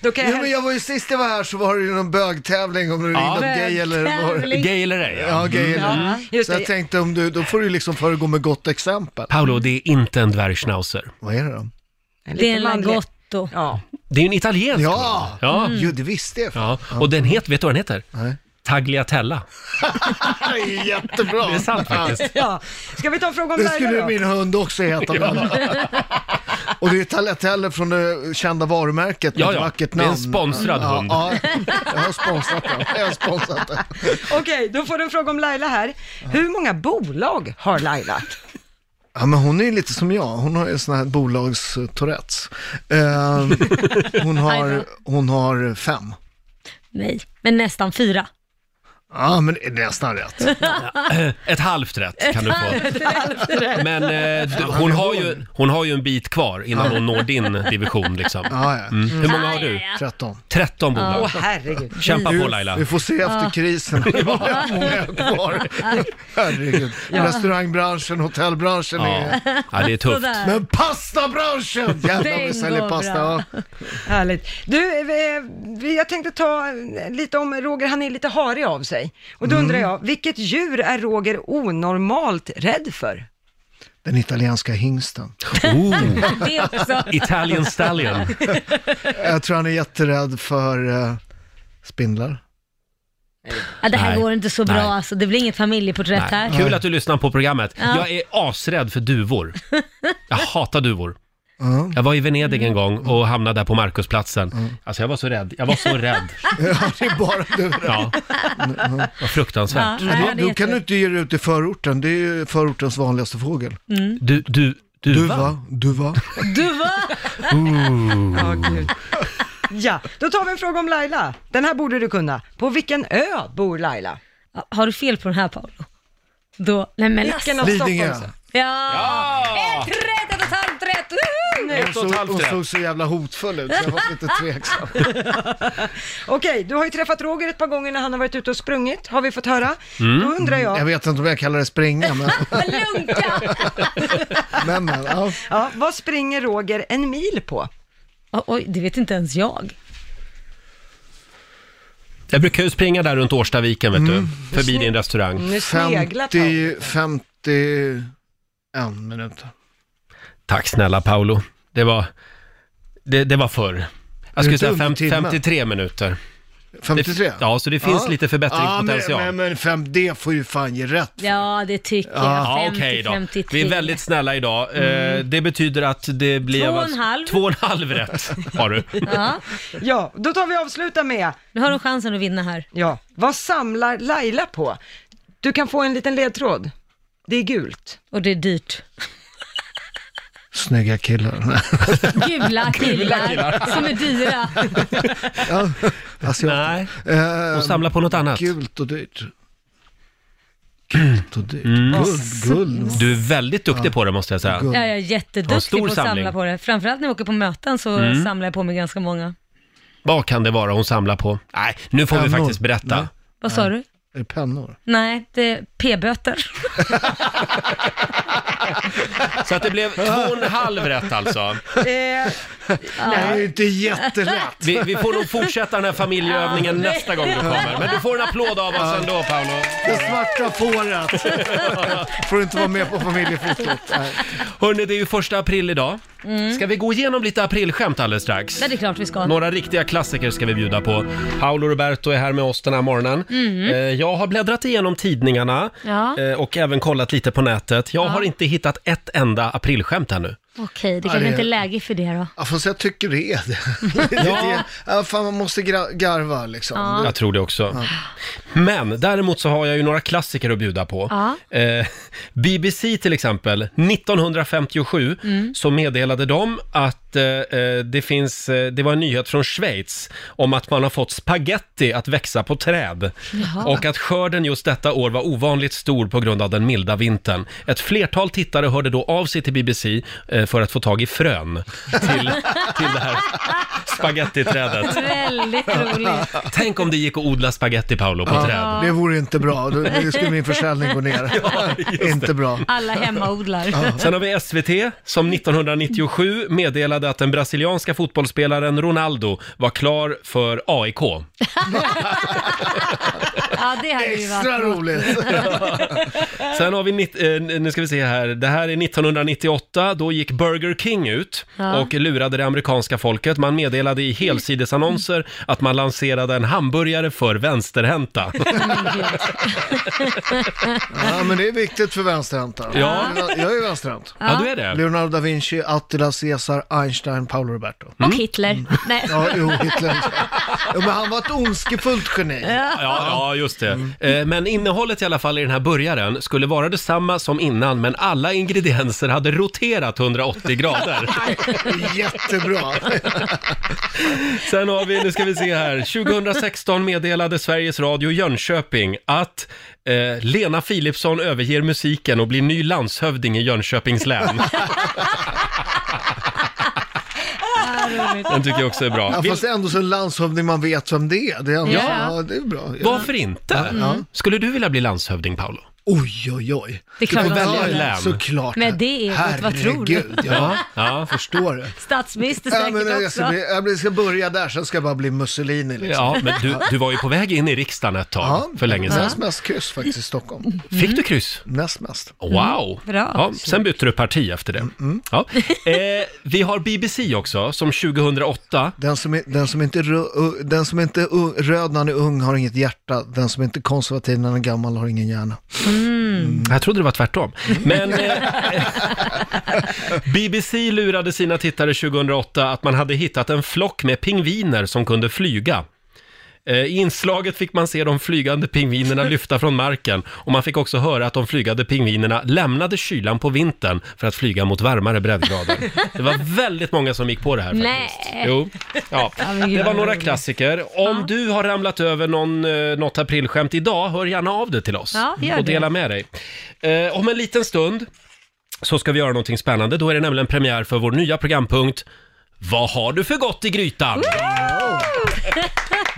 [SPEAKER 3] Då kan jag
[SPEAKER 9] Ja, men jag var ju sist jag var här så var det ju någon bögtävling om du
[SPEAKER 1] Ja.
[SPEAKER 9] inom gay eller var
[SPEAKER 2] Bögtävling.
[SPEAKER 1] Gay eller ej? Mm.
[SPEAKER 9] Ja, gay eller
[SPEAKER 3] Just
[SPEAKER 9] Så
[SPEAKER 3] det.
[SPEAKER 9] jag tänkte om du, då får du liksom föregå med gott exempel.
[SPEAKER 1] Paolo, det är inte en dvärgschnauzer.
[SPEAKER 9] Vad är det då?
[SPEAKER 2] Det är en
[SPEAKER 3] lite manlig-
[SPEAKER 2] lagotto.
[SPEAKER 3] Ja,
[SPEAKER 1] Det är ju en italiensk
[SPEAKER 9] Ja! Mm.
[SPEAKER 1] hund. Ja.
[SPEAKER 9] Jo, det visste jag.
[SPEAKER 1] ja. Och den heter, vet du vad den heter?
[SPEAKER 9] Nej.
[SPEAKER 1] Tagliatella.
[SPEAKER 9] Det är jättebra.
[SPEAKER 1] Det är sant faktiskt.
[SPEAKER 3] ja. Ska vi ta en fråga om
[SPEAKER 9] Det skulle
[SPEAKER 3] Laila då?
[SPEAKER 9] min hund också heta. Och det är Tagliatelle från det kända varumärket med
[SPEAKER 1] Ja,
[SPEAKER 9] ett
[SPEAKER 1] ja.
[SPEAKER 9] vackert
[SPEAKER 1] Det är en
[SPEAKER 9] namn.
[SPEAKER 1] sponsrad
[SPEAKER 9] ja,
[SPEAKER 1] hund.
[SPEAKER 9] Ja, jag har sponsrat den. Jag har sponsrat den.
[SPEAKER 3] Okej, då får du en fråga om Laila här. Hur många bolag har Laila?
[SPEAKER 9] Ja, men hon är ju lite som jag. Hon har ju sån här bolags-tourettes. Ehm, hon, har, hon har fem.
[SPEAKER 2] Nej, men nästan fyra.
[SPEAKER 9] Ja, men det är nästan rätt.
[SPEAKER 1] Ett halvt rätt kan du få. Men eh, d- hon, har ju, hon har ju en bit kvar innan hon når din division liksom.
[SPEAKER 9] Ja, ja.
[SPEAKER 1] Hur många har du?
[SPEAKER 9] 13.
[SPEAKER 1] 13 bolag.
[SPEAKER 3] Åh herregud.
[SPEAKER 1] Kämpa på Laila.
[SPEAKER 9] Vi får se efter krisen hur många jag har kvar. Herregud. Restaurangbranschen, hotellbranschen
[SPEAKER 1] Ja.
[SPEAKER 9] är...
[SPEAKER 1] ja, det är tufft.
[SPEAKER 2] Sådär.
[SPEAKER 9] Men pastabranschen! Jävlar vi
[SPEAKER 2] Bingo,
[SPEAKER 9] säljer pasta.
[SPEAKER 2] bra.
[SPEAKER 9] Ja.
[SPEAKER 3] Härligt. Du, eh, vi- jag tänkte ta eh, lite om Roger, han är lite harig av sig. Och då
[SPEAKER 9] Mm.
[SPEAKER 3] undrar jag, vilket djur är Roger onormalt rädd för?
[SPEAKER 9] Den italienska hingsten.
[SPEAKER 1] Oh,
[SPEAKER 2] Det också.
[SPEAKER 1] Italian Stallion.
[SPEAKER 9] Jag tror han är jätterädd för eh, spindlar.
[SPEAKER 2] Ja, det här
[SPEAKER 1] Nej.
[SPEAKER 2] går inte så bra
[SPEAKER 1] Nej.
[SPEAKER 2] alltså. Det blir inget familjeporträtt
[SPEAKER 1] Nej.
[SPEAKER 2] här.
[SPEAKER 1] Kul att du lyssnar på programmet.
[SPEAKER 2] Ja.
[SPEAKER 1] Jag är asrädd för duvor. Jag hatar duvor.
[SPEAKER 9] Ja.
[SPEAKER 1] Jag var i Venedig en gång och hamnade där på Markusplatsen.
[SPEAKER 9] Mm.
[SPEAKER 1] Alltså jag var så rädd. Jag var så rädd.
[SPEAKER 9] Ja, det är bara du.
[SPEAKER 1] Ja. Vad fruktansvärt.
[SPEAKER 2] Ja, Mm. nej, det är
[SPEAKER 9] Du kan
[SPEAKER 2] jätterätt.
[SPEAKER 9] du inte ge dig ut i förorten. Det är ju förortens vanligaste fågel.
[SPEAKER 2] Mm.
[SPEAKER 1] Du, du, duva?
[SPEAKER 9] Duva, duva.
[SPEAKER 2] Du va?
[SPEAKER 3] Ja, gud. Ja, då tar vi en fråga om Laila. Den här borde du kunna. På vilken ö bor Laila?
[SPEAKER 2] Ja, Har du fel på den här Paolo? Då, nej men alltså.
[SPEAKER 3] Vilken av
[SPEAKER 9] Lidingö.
[SPEAKER 3] Stockholms?
[SPEAKER 2] Ja! Ett rätt, ett och ett halvt rätt! Woho!
[SPEAKER 3] nu.
[SPEAKER 1] Ett och ett halvt
[SPEAKER 9] Hon
[SPEAKER 1] rätt.
[SPEAKER 9] såg så jävla hotfull ut, så jag var lite tveksam.
[SPEAKER 3] Okej, du har ju träffat Roger ett par gånger när han har varit ute och sprungit, har vi fått höra.
[SPEAKER 1] Mm.
[SPEAKER 3] Då undrar jag,
[SPEAKER 9] Jag vet inte om jag kallar det springa, men,
[SPEAKER 2] Lunka!
[SPEAKER 9] men, men ja.
[SPEAKER 3] ja, vad springer Roger en mil på?
[SPEAKER 2] Oj, Oj, det vet inte ens jag.
[SPEAKER 1] Jag brukar ju springa där runt Årstaviken, vet
[SPEAKER 9] Mm.
[SPEAKER 1] du. Förbi din restaurang.
[SPEAKER 2] Mm.
[SPEAKER 3] Nu sneglar Paul.
[SPEAKER 9] 50, 51 minuter.
[SPEAKER 1] Tack snälla Paolo. Det var, det, det var förr. Jag skulle
[SPEAKER 9] inte
[SPEAKER 1] säga
[SPEAKER 9] under
[SPEAKER 1] fem,
[SPEAKER 9] timmen.
[SPEAKER 1] 53 minuter. Det-
[SPEAKER 9] 53?
[SPEAKER 1] Ja, så det finns
[SPEAKER 9] Ja.
[SPEAKER 1] lite förbättringspotential.
[SPEAKER 9] Ja, men, men, men fem, det får ju fan ge rätt.
[SPEAKER 2] Ja, det tycker
[SPEAKER 1] Ja,
[SPEAKER 2] jag. 50,
[SPEAKER 1] okej då.
[SPEAKER 2] 53.
[SPEAKER 1] Vi är väldigt snälla idag. Eh, Det betyder att det blev...
[SPEAKER 2] Mm. Två och en
[SPEAKER 1] alltså-
[SPEAKER 2] halv.
[SPEAKER 1] Två och en halv rätt har du.
[SPEAKER 9] Ehm,
[SPEAKER 2] Ja,
[SPEAKER 3] Ja, då tar vi avsluta med,
[SPEAKER 2] nu har du chansen att vinna här.
[SPEAKER 3] ja, vad samlar Laila på? Du kan få en liten ledtråd. Det är gult.
[SPEAKER 2] Och det är dyrt.
[SPEAKER 9] Snygga killar.
[SPEAKER 2] Gula killar som är dyra.
[SPEAKER 9] ja, alltså jag,
[SPEAKER 1] Nej,
[SPEAKER 9] eh,
[SPEAKER 1] och samla på något annat.
[SPEAKER 9] Gult och dyrt. Gult och dyrt. Guld, guld.
[SPEAKER 1] Mm. Du är väldigt duktig på det måste jag säga.
[SPEAKER 9] Guld.
[SPEAKER 2] Ja, jag är
[SPEAKER 1] Ja,
[SPEAKER 2] jätteduktig
[SPEAKER 1] stor
[SPEAKER 2] på att samla
[SPEAKER 1] samling. Mm.
[SPEAKER 2] på det. Framförallt när jag åker på möten så samlar jag på mig ganska många.
[SPEAKER 1] Vad kan det vara hon samlar på? Nej, nu får vi
[SPEAKER 9] Pennor.
[SPEAKER 1] faktiskt berätta.
[SPEAKER 9] Nej.
[SPEAKER 2] Vad sa du?
[SPEAKER 9] Är det pennor?
[SPEAKER 2] Nej, det är p-böter.
[SPEAKER 1] Så att det blev två och en halv rätt alltså.
[SPEAKER 3] Eh,
[SPEAKER 9] Det är ju inte jättelätt.
[SPEAKER 1] Vi, vi får nog fortsätta den här familjeövningen nästa gång du kommer. Men du får en applåd av oss ändå Paolo.
[SPEAKER 9] Det svarta fåret. Får inte vara med på familjefotot. Nej.
[SPEAKER 1] Hörni, det är ju första april idag.
[SPEAKER 2] Mm.
[SPEAKER 1] Ska vi gå igenom lite aprilskämt alldeles strax?
[SPEAKER 2] Ja, det är klart vi ska.
[SPEAKER 1] Några riktiga klassiker ska vi bjuda på. Paolo Roberto är här med oss den här morgonen. Eh, Jag har bläddrat igenom tidningarna
[SPEAKER 2] Mhm. Ja.
[SPEAKER 1] eh, och även kollat lite på nätet. Jag har inte hittat ett enda aprilskämt ännu.
[SPEAKER 2] Okej, det
[SPEAKER 9] Ja,
[SPEAKER 2] kanske
[SPEAKER 9] det-
[SPEAKER 2] inte är läge för det då.
[SPEAKER 9] Ja, fast jag tycker det är det. ja. ja, fan man måste gra- garva liksom.
[SPEAKER 1] Jag tror det också. Men däremot så har jag ju några klassiker att bjuda på.
[SPEAKER 2] Ja.
[SPEAKER 1] Eh, BBC till exempel, 1957 så meddelade de att eh, eh, det finns, eh, det var en nyhet från Schweiz om att man har fått spaghetti att växa på träd. Och att skörden just detta år var ovanligt stor på grund av den milda vintern. Ett flertal tittare hörde då av sig till BBC eh, för att få tag i frön till, till det här spagettiträdet.
[SPEAKER 2] Väldigt roligt.
[SPEAKER 1] Tänk om det gick att odla spaghetti Paolo på träd.
[SPEAKER 9] Ja, det vore inte bra. Då då skulle min försäljning gå ner. inte bra.
[SPEAKER 2] Alla hemmaodlar.
[SPEAKER 1] Sen har vi SVT som 1997 meddelade att den brasilianska fotbollsspelaren Ronaldo var klar för AIK.
[SPEAKER 2] Ja, det hade ju varit.
[SPEAKER 9] Extra roligt.
[SPEAKER 1] Sen har vi, nitt- eh, nu ska vi se här, det här är 1998, då gick Burger King ut
[SPEAKER 2] Ja.
[SPEAKER 1] och lurade det amerikanska folket. Man meddelade i helsidesannonser att man lanserade en hamburgare för vänsterhänta.
[SPEAKER 9] Ja, men det är viktigt för vänsterhänta.
[SPEAKER 1] Ja.
[SPEAKER 9] Jag är ju vänsterhänt.
[SPEAKER 1] Ja, du är det.
[SPEAKER 9] Leonardo da Vinci, Attila Caesar, Einstein, Paolo Roberto.
[SPEAKER 1] Mm.
[SPEAKER 9] Mm.
[SPEAKER 2] Och Hitler. Nej.
[SPEAKER 9] Ja, jo, Hitler. Jo, men han var ett ondskefullt geni.
[SPEAKER 1] Ja, ja, just det. Eh, Men innehållet i alla fall i den här burgaren skulle vara detsamma som innan, men alla ingredienser hade roterat 180 grader.
[SPEAKER 9] Jättebra.
[SPEAKER 1] Sen har vi, nu ska vi se här, 2016 meddelade Sveriges Radio Jönköping att eh, Lena Philipsson överger musiken och blir ny landshövding i Jönköpings län. Den tycker jag också är bra.
[SPEAKER 9] Ja,
[SPEAKER 1] Vill,
[SPEAKER 9] fast ändå så en landshövding man vet vem det är. Det är, ändå,
[SPEAKER 1] Ja.
[SPEAKER 9] ja. det är bra.
[SPEAKER 1] varför inte? Skulle du vilja bli landshövding, Paolo?
[SPEAKER 9] Oj, oj, oj.
[SPEAKER 2] Det är klart
[SPEAKER 9] Du får
[SPEAKER 2] att
[SPEAKER 9] välja
[SPEAKER 1] man
[SPEAKER 9] ett
[SPEAKER 1] ska.
[SPEAKER 9] län. Såklart.
[SPEAKER 2] Men det är gott, vad tror du?
[SPEAKER 9] Herregud, ja.
[SPEAKER 1] Ja.
[SPEAKER 9] Förstår du?
[SPEAKER 2] Statsminister
[SPEAKER 9] Ja, men
[SPEAKER 2] säkert
[SPEAKER 9] jag, ska
[SPEAKER 2] också.
[SPEAKER 9] bli, jag blir- ska börja där, sen ska jag bara bli Mussolini. Liksom.
[SPEAKER 1] Ja, men du, du var ju på väg in i riksdagen ett tag, för länge sedan.
[SPEAKER 9] Näst mest kryss faktiskt i Stockholm. Mm.
[SPEAKER 1] Fick du kryss?
[SPEAKER 9] Näst mest.
[SPEAKER 1] Mm. Wow!
[SPEAKER 2] bra.
[SPEAKER 1] Ja, sen bytte du parti efter
[SPEAKER 9] Mm,
[SPEAKER 1] det. Ja. Eh, vi har BBC också, som 2008
[SPEAKER 9] Den som, är, den som inte, är rö- uh, den som inte är ung- röd när han är ung har inget hjärta. Den som inte är konservativ när han är gammal har ingen hjärna. Mm.
[SPEAKER 1] Jag trodde det var tvärtom. Men eh, BBC lurade sina tittare 2008 att man hade hittat en flock med pingviner som kunde flyga. Eh, I inslaget fick man se de flygande pingvinerna lyfta från marken och man fick också höra att de flygande pingvinerna lämnade kylan på vintern för att flyga mot varmare breddgrader. Det var väldigt många som gick på det här faktiskt.
[SPEAKER 2] Nej.
[SPEAKER 1] Jo, ja.
[SPEAKER 2] Eh. men gud,
[SPEAKER 1] Det var
[SPEAKER 2] vad
[SPEAKER 1] några
[SPEAKER 2] roligt.
[SPEAKER 1] klassiker. Om du har ramlat över någon, eh, något aprilskämt idag, hör gärna av dig till oss
[SPEAKER 2] Ja, gör
[SPEAKER 1] och
[SPEAKER 2] det.
[SPEAKER 1] dela med dig. Eh, om en liten stund så ska vi göra någonting spännande. Då är det nämligen premiär för vår nya programpunkt Vad har du för gott i grytan?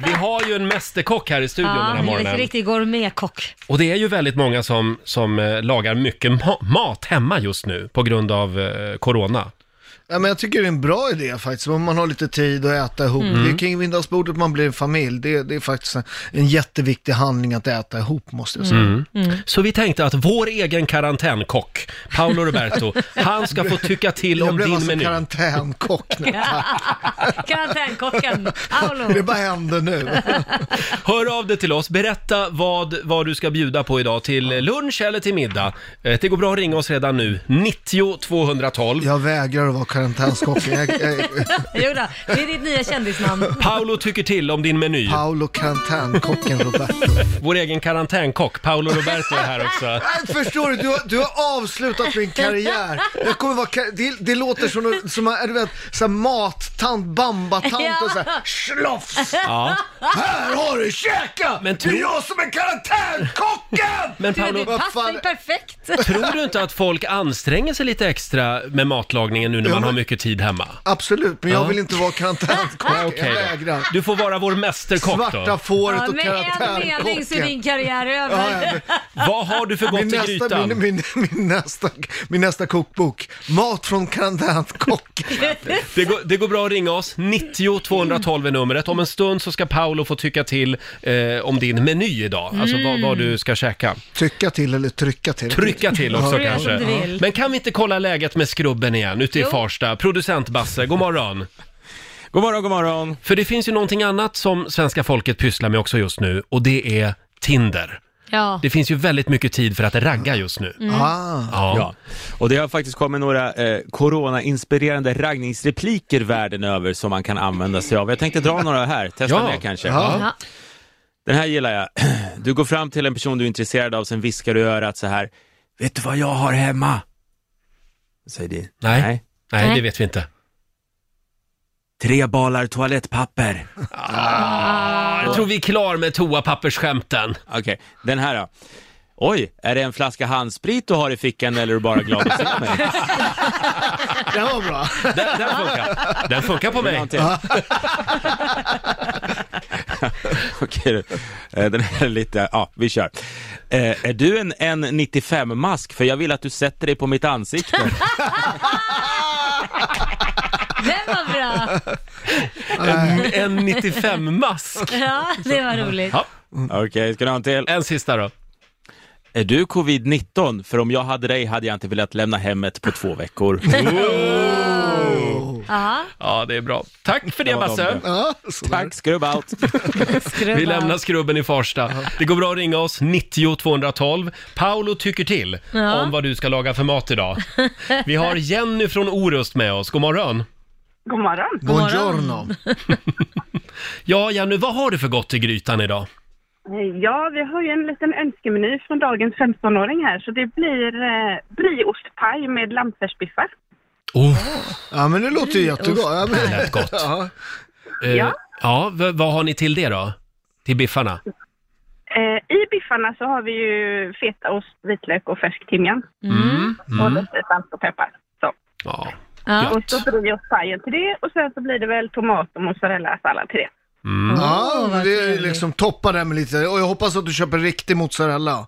[SPEAKER 1] Vi har ju en mästerkock här i studion den här
[SPEAKER 2] Ja, en
[SPEAKER 1] morgonen.
[SPEAKER 2] riktig gourmetkock.
[SPEAKER 1] Och det är ju väldigt många som, som eh, lagar mycket ma- mat hemma just nu på grund av eh, corona.
[SPEAKER 9] Ja, men jag tycker det är en bra idé faktiskt, om man har lite tid att äta ihop.
[SPEAKER 1] Mm.
[SPEAKER 9] Det är kring middagsbordet man blir en familj. Det, det är faktiskt en, en jätteviktig handling att äta ihop måste jag
[SPEAKER 1] Mm.
[SPEAKER 9] säga.
[SPEAKER 1] Så vi tänkte att vår egen karantänkock, Paolo Roberto, han ska få tycka till
[SPEAKER 9] Jag
[SPEAKER 1] om
[SPEAKER 9] blev
[SPEAKER 1] din
[SPEAKER 9] alltså
[SPEAKER 1] meny.
[SPEAKER 9] karantänkock nu.
[SPEAKER 2] Karantänkocken,
[SPEAKER 9] Det
[SPEAKER 2] Paolo.
[SPEAKER 9] bara hände nu.
[SPEAKER 1] Hör av dig till oss, berätta vad, vad du ska bjuda på idag till lunch eller till middag. Eh, Det går bra att ringa oss redan nu, 90 212.
[SPEAKER 9] Jag vägrar att vara karantänskock. Jag, jag,
[SPEAKER 2] Jodå, det är ditt nya kändisnamn.
[SPEAKER 1] Paolo tycker till om din meny.
[SPEAKER 9] Paolo karantänkocken Roberto.
[SPEAKER 1] Vår egen karantänkock, Paolo Roberto är här också.
[SPEAKER 9] Nej, förstår du? Du har, du har avslutat min karriär. Jag kommer vara kar- det, det låter som, som är du vet, så här mattant, bambatant och så här, Slofs!
[SPEAKER 1] Ja.
[SPEAKER 9] Här har du, käka!
[SPEAKER 1] Men tro-
[SPEAKER 9] Det är jag som är karantänkocken!
[SPEAKER 1] Men
[SPEAKER 2] Du,
[SPEAKER 1] Paolo,
[SPEAKER 2] det
[SPEAKER 9] vad
[SPEAKER 2] passar
[SPEAKER 9] fan-
[SPEAKER 2] ju perfekt.
[SPEAKER 1] tror du inte att folk anstränger sig lite extra med matlagningen nu när man
[SPEAKER 9] men-
[SPEAKER 1] har mycket tid hemma?
[SPEAKER 9] Absolut, men
[SPEAKER 1] Ja.
[SPEAKER 9] jag vill inte vara karantänkock.
[SPEAKER 1] Okej
[SPEAKER 9] jag
[SPEAKER 1] då.
[SPEAKER 9] vägrar.
[SPEAKER 1] Du får vara vår mästerkock
[SPEAKER 9] Svarta
[SPEAKER 1] då.
[SPEAKER 9] fåret
[SPEAKER 2] Ja,
[SPEAKER 9] och
[SPEAKER 2] med en mening så är
[SPEAKER 9] karantänkocken.
[SPEAKER 2] din karriär
[SPEAKER 9] Ja,
[SPEAKER 2] över.
[SPEAKER 9] ja, men-
[SPEAKER 1] Vad har du för
[SPEAKER 9] Min
[SPEAKER 1] gott i
[SPEAKER 9] nästa, min,
[SPEAKER 1] grytan?
[SPEAKER 9] min, min, nästa, min nästa kokbok, Mat från karantänkocken.
[SPEAKER 1] Det går, det går bra att ringa oss, 90 212 är numret. Om en stund så ska Paolo få tycka till eh, om din meny idag, alltså vad, vad du ska käka.
[SPEAKER 9] Trycka till eller trycka till.
[SPEAKER 1] Trycka till också
[SPEAKER 2] Gör som du
[SPEAKER 1] kanske.
[SPEAKER 2] vill.
[SPEAKER 1] Men kan vi inte kolla läget med skrubben igen ute i Farsta? Producent Basse, god morgon.
[SPEAKER 10] God morgon, god morgon.
[SPEAKER 1] För det finns ju någonting annat som svenska folket pysslar med också just nu och det är Tinder.
[SPEAKER 2] Ja.
[SPEAKER 1] Det finns ju väldigt mycket tid för att ragga just nu.
[SPEAKER 2] Mm.
[SPEAKER 9] Ah.
[SPEAKER 1] Ja.
[SPEAKER 10] Ja, och det har faktiskt kommit några eh, corona-inspirerande raggningsrepliker världen över som man kan använda sig av. Jag tänkte dra några här, testa
[SPEAKER 1] Ja.
[SPEAKER 10] med kanske.
[SPEAKER 2] Ja.
[SPEAKER 10] Den här gillar jag. Du går fram till en person du är intresserad av, sen viskar du i örat så här. Vet du vad jag har hemma? Säger de.
[SPEAKER 1] Nej. Nej,
[SPEAKER 2] Nej.
[SPEAKER 1] det vet vi inte.
[SPEAKER 10] Tre balar toalettpapper.
[SPEAKER 1] Ah, Jag tror vi är klar med toapappersskämten.
[SPEAKER 10] Okej, den här då. Oj, är det en flaska handsprit du har i fickan eller är du bara glad att se mig?
[SPEAKER 9] Det var bra.
[SPEAKER 1] Den, den funkar. Den funkar på mig.
[SPEAKER 10] Någon till. Okej, du. Eh, den här är lite, ja vi kör. Eh, är du en N95-mask? För jag vill att du sätter dig på mitt ansikte.
[SPEAKER 2] Den var bra.
[SPEAKER 1] En, en 95-mask.
[SPEAKER 2] Ja, det var roligt.
[SPEAKER 1] Ja.
[SPEAKER 10] Okej, ska du ha en till?
[SPEAKER 1] En sista då.
[SPEAKER 10] Är du covid-19? För om jag hade dig hade jag inte velat lämna hemmet på två veckor.
[SPEAKER 2] Ja,
[SPEAKER 1] Ja, det är bra. Tack för det
[SPEAKER 10] Ja, de
[SPEAKER 1] Basse.
[SPEAKER 10] där.
[SPEAKER 9] Ja, så där.
[SPEAKER 10] Tack, skrubb out!
[SPEAKER 2] skruva.
[SPEAKER 1] Vi lämnar skrubben i Farsta. Det går bra att ringa oss, 90 212. Paolo tycker till
[SPEAKER 2] Ja.
[SPEAKER 1] om vad du ska laga för mat idag. Vi har Jenny från Orust med oss. God morgon.
[SPEAKER 11] God morgon.
[SPEAKER 9] Buongiorno.
[SPEAKER 1] Ja, Jenny, vad har du för gott i grytan idag?
[SPEAKER 11] Eh, Ja, vi har ju en liten önskemeny från dagens 15-åring här, så det blir eh, brieostpaj med lammfärsbiffar.
[SPEAKER 1] Oh,
[SPEAKER 9] Ja men det låter ju jättegott. Ja,
[SPEAKER 1] det
[SPEAKER 9] men,
[SPEAKER 1] lät gott.
[SPEAKER 9] ja.
[SPEAKER 1] Eh,
[SPEAKER 11] Ja.
[SPEAKER 1] ja v- vad har ni till det då? Till biffarna?
[SPEAKER 11] Eh, I biffarna så har vi ju fetaost, vitlök och färsk timjan. Och lite salt och peppar. Så.
[SPEAKER 1] Ja.
[SPEAKER 2] Mm. Ja.
[SPEAKER 11] Och så brieostpajen till det och sen så blir det väl tomat och mozzarella-sallad till det.
[SPEAKER 1] Mm.
[SPEAKER 9] ja
[SPEAKER 2] Åh, vad
[SPEAKER 9] men det är ju
[SPEAKER 2] trevligt.
[SPEAKER 9] liksom toppa det med lite. Och jag hoppas att du köper riktig mozzarella.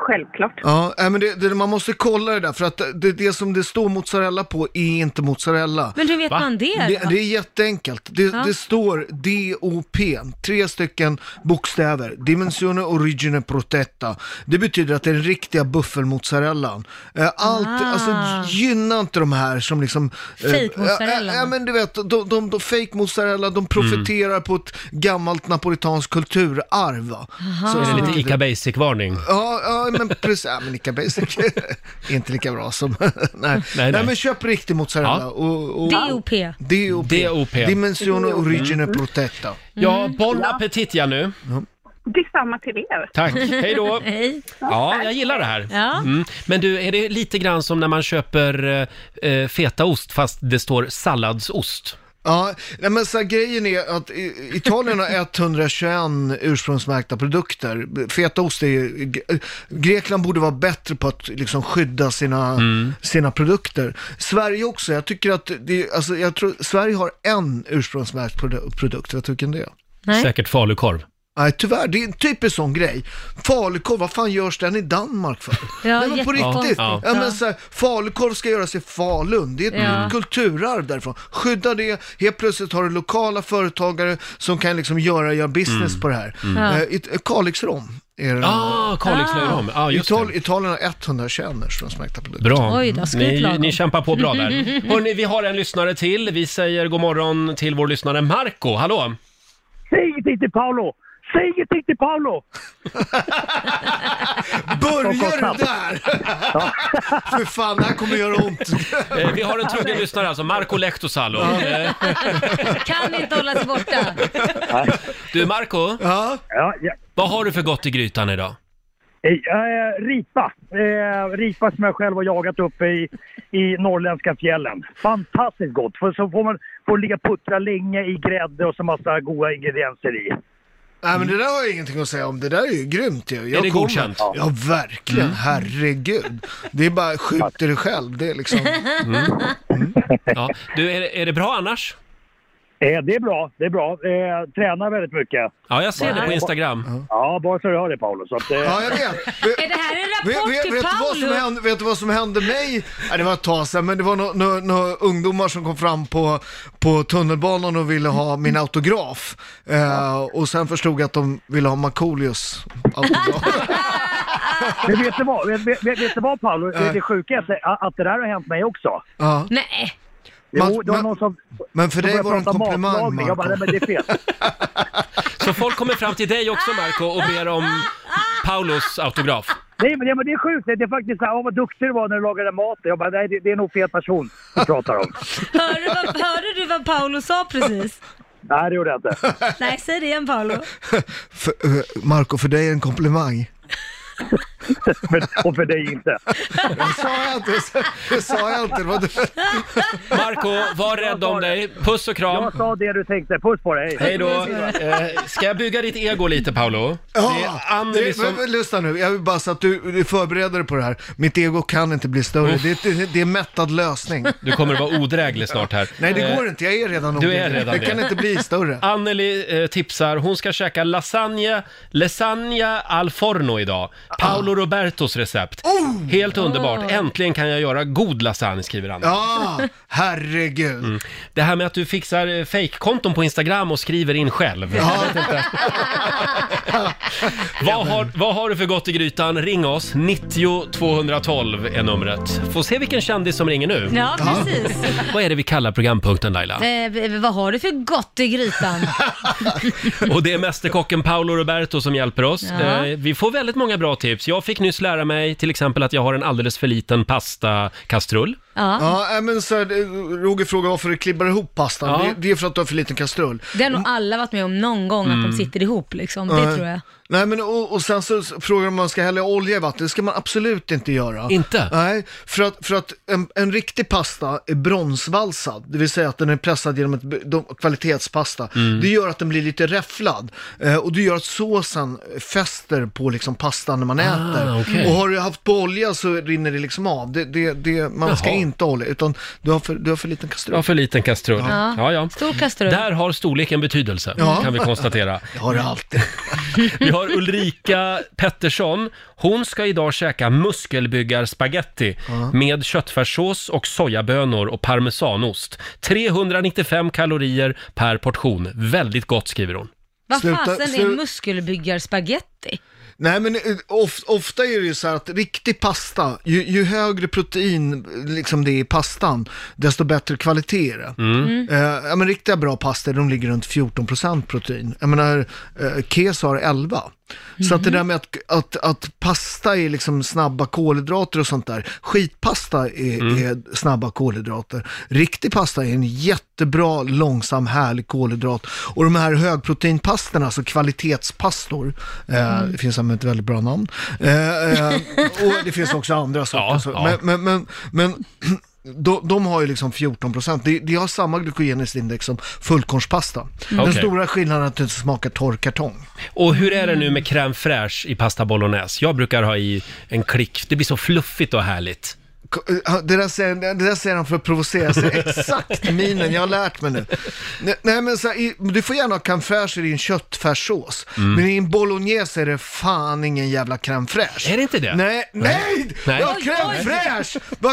[SPEAKER 11] Självklart.
[SPEAKER 9] Ja, nej, men det, det, man måste kolla det där för att det, det som det står mozzarella på är inte mozzarella.
[SPEAKER 2] Men hur vet
[SPEAKER 1] Va?
[SPEAKER 2] man det?
[SPEAKER 9] Det,
[SPEAKER 2] då?
[SPEAKER 9] det är jätteenkelt. Det, det står DOP, tre stycken bokstäver. Dimensione origine protetta. Det betyder att det är den riktiga buffelmozzarellan. Eh, Allt,
[SPEAKER 2] Ah.
[SPEAKER 9] alltså gynna inte de här som liksom... eh,
[SPEAKER 2] Fejkmozzarella.
[SPEAKER 9] Ja, ja, men du vet, de, de, de, fake mozzarella,
[SPEAKER 1] Mm.
[SPEAKER 9] de profiterar på ett gammalt napolitanskt kulturarv. va? Så,
[SPEAKER 1] Är det lite ICA Basic-varning?
[SPEAKER 9] Ja, ja men precis. Ja, men lika basic. inte lika bra som... nej. Nej,
[SPEAKER 1] nej.
[SPEAKER 9] men köp riktig mozzarella.
[SPEAKER 1] Ja.
[SPEAKER 9] Och, och,
[SPEAKER 2] DOP.
[SPEAKER 9] DOP.
[SPEAKER 1] DOP.
[SPEAKER 9] Dimensione
[SPEAKER 1] Mm.
[SPEAKER 9] origine protetta.
[SPEAKER 1] Ja, bon appetit Jenny.
[SPEAKER 11] Detsamma till er.
[SPEAKER 1] Tack. Hej då.
[SPEAKER 2] Hej.
[SPEAKER 1] Ja, jag gillar det här.
[SPEAKER 2] Ja.
[SPEAKER 1] Mm. Men du, är det lite grann som när man köper eh, eh, fetaost fast det står salladsost?
[SPEAKER 9] Ja, Ja, nej, men så här, grejen är att i- Italien har 121 ursprungsmärkta produkter. Fetaost är ju- Gre- Grekland borde vara bättre på att liksom skydda sina, sina produkter. Sverige också, jag tycker att det, alltså, jag tror, Sverige har en ursprungsmärkt produ- produkt, vet du vilken det är?
[SPEAKER 2] Nej.
[SPEAKER 1] Säkert falukorv.
[SPEAKER 9] Nej, tyvärr, det är en typisk sån grej. Falukorv, vad fan görs den i Danmark för?
[SPEAKER 2] Ja,
[SPEAKER 9] Nej, men på
[SPEAKER 2] jättekonstigt.
[SPEAKER 9] riktigt.
[SPEAKER 1] Ja.
[SPEAKER 9] Ja. men så här, falukorv ska göras i Falun, det är ett
[SPEAKER 2] Ja.
[SPEAKER 9] kulturarv därifrån. Skydda det, helt plötsligt har du lokala företagare som kan liksom göra, göra business på det här.
[SPEAKER 2] Ja.
[SPEAKER 9] Eh, it- Kalixrom är det.
[SPEAKER 1] Mm. Ah, Kalixlöjrom. Ja, just
[SPEAKER 9] Ital-
[SPEAKER 1] det.
[SPEAKER 9] Italien har 121 ursprungsmärkta produkter.
[SPEAKER 1] Bra.
[SPEAKER 2] Oj då, skryt
[SPEAKER 1] ni,
[SPEAKER 2] lagom.
[SPEAKER 1] ni kämpar på bra där. Hörrni, vi har en lyssnare till. Vi säger god morgon till vår lyssnare Marco. Hallå!
[SPEAKER 12] Säg ingenting till Paolo! Säg ingenting till Paolo!
[SPEAKER 9] Börjar du där? För fan, det här kommer göra ont.
[SPEAKER 1] Eh, vi har en trogen lyssnare alltså, Marco Lehtosalo. Eh,
[SPEAKER 2] Kan inte hålla sig borta.
[SPEAKER 1] du Marco,
[SPEAKER 9] Ja,
[SPEAKER 12] Ja, ja.
[SPEAKER 1] vad har du för gott i grytan idag?
[SPEAKER 12] Eh, ripa. Eh, ripa som jag själv har jagat uppe i, i norrländska fjällen. Fantastiskt gott! För så får man får ligga och puttra länge i grädde och så massa goda ingredienser i.
[SPEAKER 9] Nej men det där har jag ingenting att säga om, det där är ju grymt ju. Jag
[SPEAKER 1] Mm. det godkänt? Mm.
[SPEAKER 9] Ja verkligen, herregud. Det är bara, skjuter dig själv, det är liksom.
[SPEAKER 1] Ja. Du, är, det- är det bra annars?
[SPEAKER 12] Eh, det är bra, det är bra. Eh, tränar väldigt mycket.
[SPEAKER 1] Ja, jag ser det på Instagram.
[SPEAKER 12] Ja, bara så du hör det Paolo. Så att, eh,
[SPEAKER 9] Ja jag vet.
[SPEAKER 2] Är det här en
[SPEAKER 9] Vet,
[SPEAKER 2] rapport
[SPEAKER 9] vet,
[SPEAKER 2] till
[SPEAKER 9] vet, du vad som
[SPEAKER 2] Paolo?
[SPEAKER 9] hände, vet du vad som hände mig? Nej, det var ett tag sedan, men det var några nå nå ungdomar som kom fram på, på tunnelbanan och ville ha min autograf. Eh, och sen förstod jag att de ville ha Markoolios autograf.
[SPEAKER 12] Men vet du vad, vet, vet, vet du vad Paolo? Det, det sjuka är att det- att det där har hänt mig också.
[SPEAKER 9] ja.
[SPEAKER 2] Nej.
[SPEAKER 9] Man-
[SPEAKER 12] Jo, det var
[SPEAKER 9] man-
[SPEAKER 12] någon som...
[SPEAKER 9] Men för
[SPEAKER 12] som
[SPEAKER 9] dig
[SPEAKER 12] började
[SPEAKER 9] var det en
[SPEAKER 12] prata
[SPEAKER 9] komplimang
[SPEAKER 12] matlagning. Jag bara, nej
[SPEAKER 9] Marko.
[SPEAKER 12] men det är fel.
[SPEAKER 1] Så folk kommer fram till dig också Marco och ber om Paulos autograf.
[SPEAKER 12] Nej men, ja, men det är sjukt. Det är faktiskt så här, "Åh, vad duktig du var när du lagade mat. Jag bara, nej det, det är nog fel person du pratar om.
[SPEAKER 2] Hörde, du vad, hörde du vad Paolo sa precis?
[SPEAKER 12] nej det gjorde jag inte.
[SPEAKER 2] Nej, säg det igen Paolo.
[SPEAKER 9] För, eh, Marco, för dig är det en komplimang.
[SPEAKER 12] Men, och för dig inte.
[SPEAKER 9] Det sa jag inte, det sa jag inte. Det var du.
[SPEAKER 1] Marco, var rädd om dig. Puss och kram.
[SPEAKER 12] Jag sa det du tänkte. Puss på dig.
[SPEAKER 1] Hej då. Eh, ska jag bygga ditt ego lite Paolo? det är Anneli
[SPEAKER 9] det-
[SPEAKER 1] som...
[SPEAKER 9] men, men, lyssna nu, jag vill bara så att du, du förbereder dig på det här. Mitt ego kan inte bli större, det, det, det är mättad lösning.
[SPEAKER 1] Du kommer att vara odräglig snart här.
[SPEAKER 9] Nej det
[SPEAKER 1] Eh,
[SPEAKER 9] går inte, jag är redan
[SPEAKER 1] du
[SPEAKER 9] oduglig.
[SPEAKER 1] är redan
[SPEAKER 9] det.
[SPEAKER 1] det.
[SPEAKER 9] kan inte bli större.
[SPEAKER 1] Anneli eh, tipsar, hon ska käka lasagne, lasagna al forno idag.
[SPEAKER 9] Ah.
[SPEAKER 1] Paolo Robertos recept.
[SPEAKER 9] Oh!
[SPEAKER 1] Helt underbart. Äntligen kan jag göra god lasagne, skriver Anneli.
[SPEAKER 9] Ja, herregud.
[SPEAKER 1] Det här med att du fixar eh, fake-konton på Instagram och skriver in själv. vad, har, vad har du för gott i grytan? Ring oss. 90 212 är numret. Får se vilken kändis som ringer nu.
[SPEAKER 2] Ja, precis.
[SPEAKER 1] Vad är det vi kallar programpunkten Laila?
[SPEAKER 2] Eh, v- vad har du för gott i grytan?
[SPEAKER 1] Och det är mästerkocken Paolo Roberto som hjälper oss.
[SPEAKER 2] Ja.
[SPEAKER 1] Eh, vi får väldigt många bra tips. Jag fick nyss lära mig till exempel att jag har en alldeles för liten pastakastrull.
[SPEAKER 2] Ja.
[SPEAKER 9] Ja, äh, men så här, eh, Roger frågar varför du klibbar ihop pastan.
[SPEAKER 1] Ja.
[SPEAKER 9] Det, det är för att du har för liten kastrull.
[SPEAKER 2] Det har nog alla varit med om någon gång,
[SPEAKER 1] Mm.
[SPEAKER 2] att de sitter ihop liksom. Det
[SPEAKER 9] Nej.
[SPEAKER 2] tror jag.
[SPEAKER 9] Nej men och, och sen så frågar de om man ska hälla olja i vatten, det ska man absolut inte göra.
[SPEAKER 1] Inte?
[SPEAKER 9] Nej, för att, för att en, en riktig pasta är bronsvalsad, det vill säga att den är pressad genom ett b- de, kvalitetspasta.
[SPEAKER 1] Mm.
[SPEAKER 9] Det gör att den blir lite räfflad eh, och det gör att såsen fäster på liksom pastan när man äter.
[SPEAKER 1] Ah, okej.
[SPEAKER 9] Och har du haft på olja så rinner det liksom av. Det, det, det, man ska
[SPEAKER 1] Jaha.
[SPEAKER 9] inte ha olja, utan du har för, du har för liten kastrull.
[SPEAKER 1] Jag har för liten kastrull. Ja. Ja,
[SPEAKER 2] Stor kastrull.
[SPEAKER 1] Där har storleken betydelse,
[SPEAKER 9] Ja.
[SPEAKER 1] kan vi konstatera.
[SPEAKER 9] Jag har det alltid.
[SPEAKER 1] Vi har Ulrika Pettersson. Hon ska idag käka muskelbyggarspagetti med köttfärssås och sojabönor och parmesanost. 395 kalorier per portion. Väldigt gott skriver hon.
[SPEAKER 2] Vad
[SPEAKER 9] Sluta-
[SPEAKER 2] fasen är
[SPEAKER 9] slu-
[SPEAKER 2] muskelbyggarspagetti?
[SPEAKER 9] Nej men eh, of, ofta är det ju så här att riktig pasta, ju, ju högre protein eh, liksom det är i pastan, desto bättre kvalitet är det. Eh, ja, men riktiga bra pastor, de ligger runt 14% protein. Jag menar, eh, kes har 11. Så att det där med att, att, att pasta är liksom snabba kolhydrater och sånt där, skitpasta är,
[SPEAKER 1] Mm.
[SPEAKER 9] är snabba kolhydrater. Riktig pasta är en jättebra, långsam, härlig kolhydrat. Och de här högproteinpastorna, alltså kvalitetspastor, eh,
[SPEAKER 1] Mm.
[SPEAKER 9] det finns även ett väldigt bra eh, namn. Eh, eh, och det finns också andra saker.
[SPEAKER 1] Ja,
[SPEAKER 9] så.
[SPEAKER 1] ja.
[SPEAKER 9] Men, men, men, men de, de har ju liksom 14 procent. De, de har samma glykogeniskt index som fullkornspasta. Den
[SPEAKER 1] Mm. Okej.
[SPEAKER 9] stora skillnaden är att det inte smakar torr kartong.
[SPEAKER 1] Och hur är det nu med crème fraîche i pasta bolognese? Jag brukar ha i en klick, det blir så fluffigt och härligt.
[SPEAKER 9] eh, Det där, säger, det där säger han för att provocera sig. Exakt minen, jag har lärt mig nu. Nej, Nej men så här, i, du får gärna ha crème fraîche i din köttfärssås.
[SPEAKER 1] Mm.
[SPEAKER 9] Men i en bolognese är det fan ingen jävla crème fraîche. Är det inte det? Nej, nej!
[SPEAKER 1] Nej.
[SPEAKER 9] Ja,
[SPEAKER 1] Oj,
[SPEAKER 9] crème
[SPEAKER 1] oj.
[SPEAKER 9] fraîche! Vad,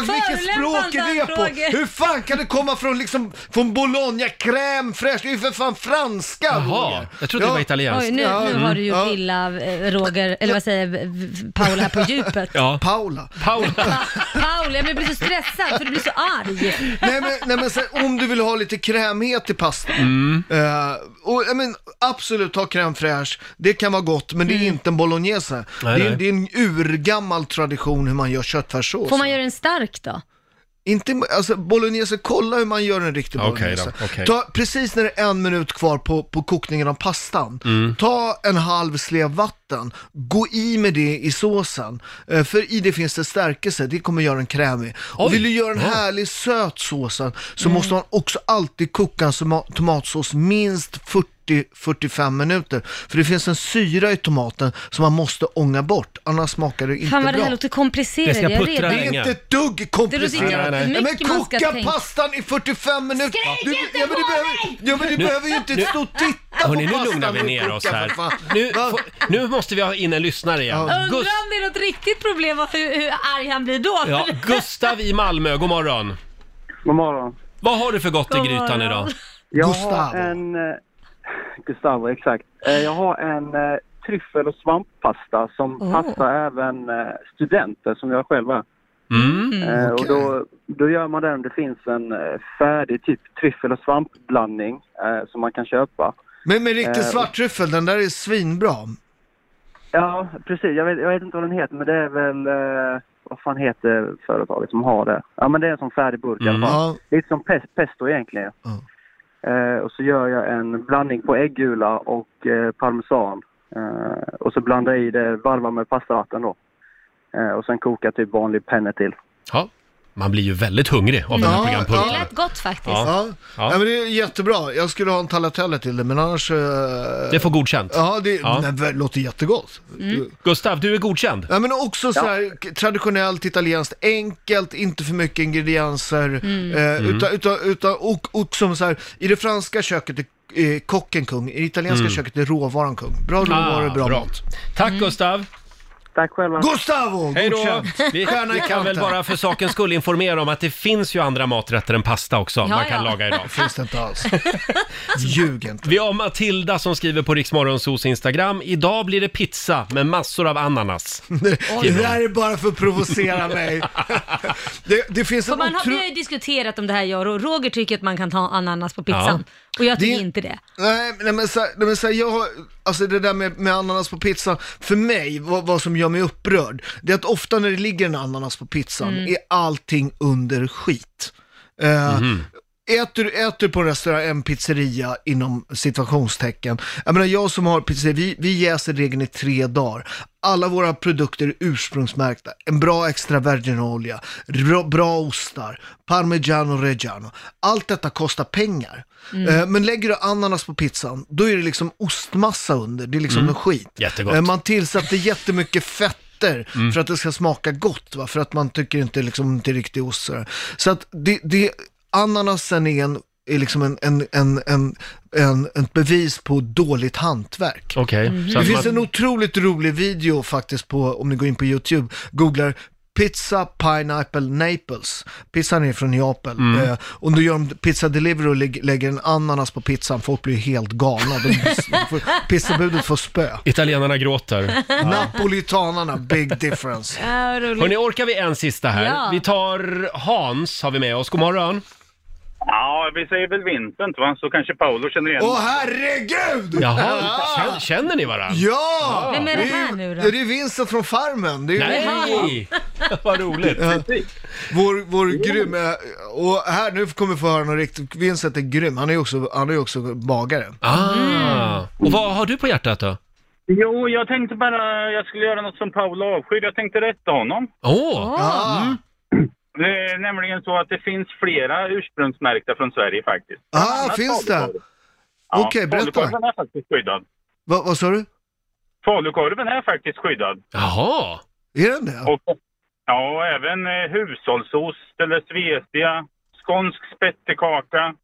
[SPEAKER 5] Förolämpande
[SPEAKER 9] vilket språk är det på?
[SPEAKER 5] frågor.
[SPEAKER 9] Hur fan kan det komma från, liksom, från Bologna, crème fraîche? Det är ju för fan franska!
[SPEAKER 1] Jaha,
[SPEAKER 9] Roger.
[SPEAKER 1] jag trodde det var italienskt.
[SPEAKER 2] Oj, nu,
[SPEAKER 9] Ja,
[SPEAKER 2] nu
[SPEAKER 9] mm.
[SPEAKER 2] har du
[SPEAKER 9] Ja.
[SPEAKER 2] gjort illa eh, Roger, eller vad säger v- v- Paul här på djupet.
[SPEAKER 1] Ja.
[SPEAKER 9] Paula.
[SPEAKER 1] Paula.
[SPEAKER 2] Paul, jag blir så stressad för du blir så arg.
[SPEAKER 9] nej men, nej, men så här, om du vill ha lite krämighet i pastan.
[SPEAKER 1] Mm.
[SPEAKER 9] Eh, och, jag men, absolut, ta crème fraîche. Det kan vara gott, men det är inte en bolognese. det, är,
[SPEAKER 1] Mm. nej.
[SPEAKER 9] det är en urgammal tradition hur man gör köttfärssås.
[SPEAKER 2] Får man göra en stark då?
[SPEAKER 9] Inte, alltså bolognese, kolla hur man gör en riktig
[SPEAKER 1] Okej
[SPEAKER 9] bolognese.
[SPEAKER 1] då, okej.
[SPEAKER 9] Ta, precis när det är en minut kvar på, på kokningen av pastan,
[SPEAKER 1] Mm.
[SPEAKER 9] ta en halv slev vatten, gå i med det i såsen. Eh, För i det finns det stärkelse, det kommer göra den krämig. Och vill du göra en
[SPEAKER 1] Ja.
[SPEAKER 9] härlig söt såsen så
[SPEAKER 1] Mm.
[SPEAKER 9] måste man också alltid koka en soma- tomatsås minst 40-45 minuter. För det finns en syra i tomaten som man måste ånga bort, annars smakar det inte
[SPEAKER 2] Fan vad
[SPEAKER 9] bra.
[SPEAKER 2] det här låter komplicerat. Jag är redan-
[SPEAKER 9] Det är inte ett dugg komplicerat.
[SPEAKER 2] Det låter jättemycket
[SPEAKER 9] Nej, men
[SPEAKER 2] man ska
[SPEAKER 9] koka
[SPEAKER 2] tänka.
[SPEAKER 9] pastan i 45 minuter.
[SPEAKER 2] Skrik
[SPEAKER 9] du,
[SPEAKER 2] inte
[SPEAKER 9] ja, men du
[SPEAKER 2] på
[SPEAKER 9] behöver,
[SPEAKER 2] mig!
[SPEAKER 9] ja, men du
[SPEAKER 1] Nu-
[SPEAKER 9] behöver ju inte
[SPEAKER 1] nu-
[SPEAKER 9] stå och
[SPEAKER 6] Eh.
[SPEAKER 9] titta
[SPEAKER 1] Hörni,
[SPEAKER 9] på
[SPEAKER 1] nu
[SPEAKER 9] pastan.
[SPEAKER 1] lugnar vi
[SPEAKER 9] och
[SPEAKER 1] ner
[SPEAKER 9] koka,
[SPEAKER 1] oss
[SPEAKER 9] för
[SPEAKER 1] här.
[SPEAKER 9] fan.
[SPEAKER 1] Nu, får- nu måste vi ha in en lyssnare igen.
[SPEAKER 2] Undrar om
[SPEAKER 1] Gust-
[SPEAKER 2] det är något riktigt problem och hur, hur arg han blir då.
[SPEAKER 1] ja, Gustav i Malmö, god morgon.
[SPEAKER 6] God morgon.
[SPEAKER 1] Vad har du för gott i
[SPEAKER 2] God
[SPEAKER 1] grytan
[SPEAKER 2] morgon.
[SPEAKER 1] idag?
[SPEAKER 6] Jag
[SPEAKER 1] Gustavo.
[SPEAKER 6] har en... eh, Gustavo, exakt. Eh, Jag har en eh, tryffel och svamppasta som
[SPEAKER 5] Oh.
[SPEAKER 6] passar även eh, studenter som jag själv är.
[SPEAKER 9] Mm,
[SPEAKER 8] Mm,
[SPEAKER 6] Eh, Och då, då gör man den, det finns en eh, färdig typ tryffel och svampblandning eh, som man kan köpa.
[SPEAKER 9] Men med
[SPEAKER 6] Eh,
[SPEAKER 9] riktig
[SPEAKER 6] och-
[SPEAKER 9] svarttryffel, den där är svinbra.
[SPEAKER 6] Ja, precis. Jag vet, jag vet inte vad den heter, men det är väl... Eh, vad fan heter företaget som har det? Ja, men det är en sån färdig burk i alla fall. Lite som pes- pesto egentligen. Eh, och så gör jag en blandning på äggula och eh, parmesan. Eh, och så blandar jag i det, varvar med pastavatten då. Eh, och sen kokar typ vanlig penne till.
[SPEAKER 1] Ja, man blir ju väldigt hungrig av den här
[SPEAKER 2] det
[SPEAKER 1] programpunkten.
[SPEAKER 2] lät gott faktiskt.
[SPEAKER 9] Ja. Ja. men det är jättebra. Jag skulle ha en tagliatelle till det, men annars... eh,
[SPEAKER 1] Det får godkänt.
[SPEAKER 9] Ja, det
[SPEAKER 1] Ja.
[SPEAKER 9] Nej, det låter jättegott.
[SPEAKER 2] Mm.
[SPEAKER 1] Gustav, du är godkänd.
[SPEAKER 9] Ja, men också så här, k- traditionellt italienskt, enkelt, inte för mycket ingredienser.
[SPEAKER 1] Mm.
[SPEAKER 9] Eh,
[SPEAKER 1] Mm.
[SPEAKER 9] utan, utan, utan, och, och som så här, i det franska köket är eh, kocken kung, i det italienska
[SPEAKER 1] Mm. Ah,
[SPEAKER 9] köket är råvaran kung. Bra råvaror, bra, mat.
[SPEAKER 1] Tack Gustav!
[SPEAKER 6] Tack själva!
[SPEAKER 9] Gustavo!
[SPEAKER 1] Hej då!
[SPEAKER 9] godkänt.
[SPEAKER 1] Vi,
[SPEAKER 9] Stjärna i
[SPEAKER 1] vi kan
[SPEAKER 9] kanten.
[SPEAKER 1] väl bara för sakens skull informera om att det finns ju andra maträtter än pasta också
[SPEAKER 9] Ja,
[SPEAKER 1] man kan
[SPEAKER 9] ja.
[SPEAKER 1] laga idag.
[SPEAKER 9] Det finns det inte alls. Ljug inte.
[SPEAKER 1] Vi har Matilda som skriver på Riksmorgonsos Instagram. Idag blir det pizza med massor av ananas.
[SPEAKER 9] Det där är bara för att provocera mig. Det, det finns
[SPEAKER 2] För
[SPEAKER 9] en
[SPEAKER 2] man har, vi har
[SPEAKER 9] otro...
[SPEAKER 2] ju diskuterat om det här jag och Roger tycker att man kan ta ananas på pizzan. Och jag tycker inte det.
[SPEAKER 9] Nej, men- nej, men, så, här- nej, men så här, jag har, alltså det där med, med ananas på pizza, för mig, vad, vad som gör mig upprörd, det är att ofta när det ligger en ananas på pizzan
[SPEAKER 5] Mm.
[SPEAKER 9] är allting under skit. Eh,
[SPEAKER 13] Mhm.
[SPEAKER 9] Äter du äter på en restaurang, en pizzeria inom situationstecken. Jag menar jag som har pizzeria, vi, vi jäser regeln i tre dagar. Alla våra produkter är ursprungsmärkta. En bra extra virginolja, bra, bra ostar, parmigiano reggiano. Allt detta kostar pengar.
[SPEAKER 5] Mm.
[SPEAKER 9] Eh, men lägger du ananas på pizzan, då är det liksom ostmassa under. Det är liksom
[SPEAKER 1] Mm.
[SPEAKER 9] något skit.
[SPEAKER 1] Jättegott.
[SPEAKER 9] Eh, Man tillsatte jättemycket fetter
[SPEAKER 1] Mm.
[SPEAKER 9] för att det ska smaka gott, va? för att man tycker inte liksom inte riktig ost. Så, där. så att det, det, ananasen är, en, är liksom en, en, en, en, en, ett bevis på dåligt hantverk.
[SPEAKER 1] Okej. så
[SPEAKER 9] Det
[SPEAKER 1] att
[SPEAKER 9] finns
[SPEAKER 1] man-
[SPEAKER 9] en otroligt rolig video faktiskt på, om ni går in på YouTube, googlar Pizza Pineapple Naples. Pizzan är från Neapel.
[SPEAKER 5] Mm.
[SPEAKER 9] Eh, och då gör de pizza delivery och lägg, lägger en ananas på pizzan. Folk blir helt galna. De, får, pizzabudet får spö.
[SPEAKER 1] Italienarna gråter.
[SPEAKER 9] Napolitanarna, big difference.
[SPEAKER 1] Hörni, orkar vi en sista här?
[SPEAKER 9] Ja.
[SPEAKER 1] Vi tar Hans, har vi med oss. God morgon.
[SPEAKER 8] Ja, vi säger väl vintern va? Så kanske Paolo känner igen
[SPEAKER 9] Åh herregud!
[SPEAKER 1] Jaha,
[SPEAKER 9] Ja.
[SPEAKER 1] känner, känner ni varandra?
[SPEAKER 9] Ja!
[SPEAKER 2] Vem är det här
[SPEAKER 9] är ju-
[SPEAKER 2] nu då?
[SPEAKER 9] Ja, Det är Vincent från Farmen. Det är ju-
[SPEAKER 1] Nej! Vad roligt.
[SPEAKER 9] Ja. Vår, vår grym, och här nu kommer vi få höra något riktigt, Vincent är grym, han är ju också, han är ju också bagare.
[SPEAKER 1] Ah. Och vad har du på hjärtat då?
[SPEAKER 8] Jo, jag tänkte
[SPEAKER 9] Ah.
[SPEAKER 8] bara jag skulle göra något som Paolo avskyr. Jag tänkte rätta honom.
[SPEAKER 1] Åh!
[SPEAKER 8] Mm. Det är nämligen så att det finns flera ursprungsmärkta från Sverige faktiskt. Bland
[SPEAKER 9] Ah,
[SPEAKER 8] annat
[SPEAKER 9] finns det?
[SPEAKER 8] falukorv. Ja,
[SPEAKER 9] Okej, berätta.
[SPEAKER 8] Falukorven är faktiskt skyddad.
[SPEAKER 9] Va, vad sa du?
[SPEAKER 8] Falukorven är faktiskt skyddad.
[SPEAKER 1] Jaha!
[SPEAKER 9] Är den det?
[SPEAKER 8] Och, ja, och även eh, hushållsost eller svetia, skånsk spettekaka,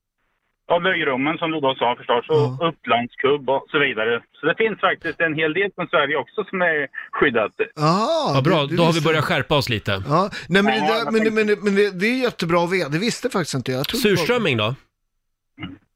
[SPEAKER 8] ja, löjrummen som du då sa förstås, och upplandskubb och så vidare. Så det finns faktiskt en hel del från Sverige också som är skyddat.
[SPEAKER 9] Jaha,
[SPEAKER 1] Vad bra,
[SPEAKER 9] du- du
[SPEAKER 1] då har vi
[SPEAKER 9] visste-
[SPEAKER 1] börjat skärpa oss lite.
[SPEAKER 9] Ja, nej men, det,
[SPEAKER 8] Ja,
[SPEAKER 9] där,
[SPEAKER 8] jag
[SPEAKER 9] men, det- men, det- men det, det är jättebra att veta, det visste faktiskt inte jag. jag trodde det var-
[SPEAKER 1] Surströmming då?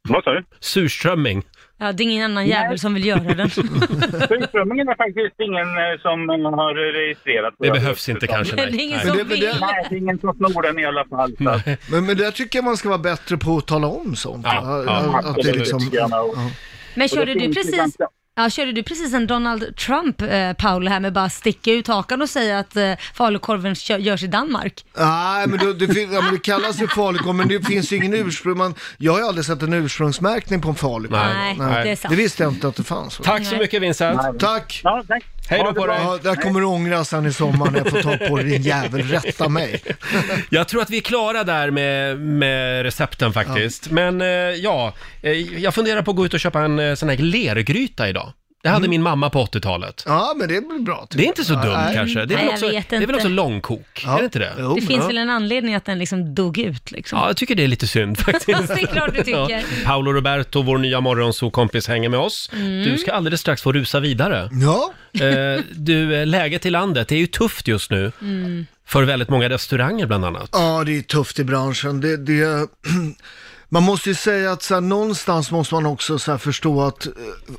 [SPEAKER 8] Vad sa du?
[SPEAKER 1] Surströmming.
[SPEAKER 2] Ja, det är ingen annan jävel som vill göra den.
[SPEAKER 8] Surströmmingen är faktiskt ingen eh, som har registrerat.
[SPEAKER 1] Det behövs inte kanske, nej.
[SPEAKER 2] Det är ingen
[SPEAKER 1] Nej.
[SPEAKER 2] som
[SPEAKER 9] Men det- men
[SPEAKER 2] vill.
[SPEAKER 9] det-
[SPEAKER 8] Nej, det är ingen som snor den i alla fall. Så. att-
[SPEAKER 9] Men, men där tycker jag man ska vara bättre på att tala om sånt.
[SPEAKER 1] Ja, ja,
[SPEAKER 9] att det är liksom,
[SPEAKER 8] absolut. Gärna.
[SPEAKER 9] ja.
[SPEAKER 2] Men
[SPEAKER 8] Och det
[SPEAKER 2] körde
[SPEAKER 8] finns
[SPEAKER 2] du
[SPEAKER 8] liksom- ju
[SPEAKER 2] precis...
[SPEAKER 8] ganska-
[SPEAKER 2] Ja, körde du precis en Donald Trump, eh, Paul, här med bara sticka ut hakan och säga att eh, falukorven kö- görs i Danmark?
[SPEAKER 9] Nej, men det, det, fin- ja, men det kallas ju falukorv, men det finns ju ingen ursprung. Man, jag har ju aldrig sett en ursprungsmärkning på en falukorv.
[SPEAKER 1] Nej, Nej.
[SPEAKER 2] det är sant.
[SPEAKER 9] Det visste jag inte att det fanns.
[SPEAKER 1] Tack så mycket Vincent!
[SPEAKER 9] Tack!
[SPEAKER 8] Ja, tack.
[SPEAKER 1] Hej
[SPEAKER 8] Ha
[SPEAKER 1] då
[SPEAKER 8] det
[SPEAKER 1] på
[SPEAKER 8] bra.
[SPEAKER 1] dig!
[SPEAKER 9] Ja, där kommer du ångra sen i sommar när jag får ta på dig din jävel. Rätta mig.
[SPEAKER 1] Jag tror att vi är klara där med, med recepten faktiskt. Men eh, ja, eh, jag funderar på att gå ut och köpa en eh, sån här lergryta idag. Det hade min mamma på 80-talet.
[SPEAKER 9] Mm. Ja, men det blir bra. tycker
[SPEAKER 1] Det är inte så
[SPEAKER 9] jag.
[SPEAKER 1] dumt
[SPEAKER 9] Nej.
[SPEAKER 1] kanske. Det är,
[SPEAKER 2] Nej,
[SPEAKER 1] väl
[SPEAKER 2] jag
[SPEAKER 1] också,
[SPEAKER 2] vet
[SPEAKER 1] det är väl
[SPEAKER 2] inte.
[SPEAKER 1] också långkok?
[SPEAKER 9] Ja.
[SPEAKER 1] Är det inte det?
[SPEAKER 9] Jo,
[SPEAKER 2] Det finns
[SPEAKER 9] ja.
[SPEAKER 2] väl en anledning att den liksom dog ut liksom.
[SPEAKER 1] Ja, jag tycker det är lite synd faktiskt.
[SPEAKER 2] Det är klart du tycker. Mm.
[SPEAKER 1] Paolo Roberto, vår nya morgonsokompis, hänger med oss. Du ska alldeles strax få rusa vidare.
[SPEAKER 9] Ja,
[SPEAKER 1] Eh, du, eh, läget i landet är ju tufft just nu.
[SPEAKER 2] Mm.
[SPEAKER 1] För väldigt många restauranger bland annat.
[SPEAKER 9] Ja, det är tufft i branschen. Det, det, man måste ju säga att så här, någonstans måste man också så här, förstå att eh,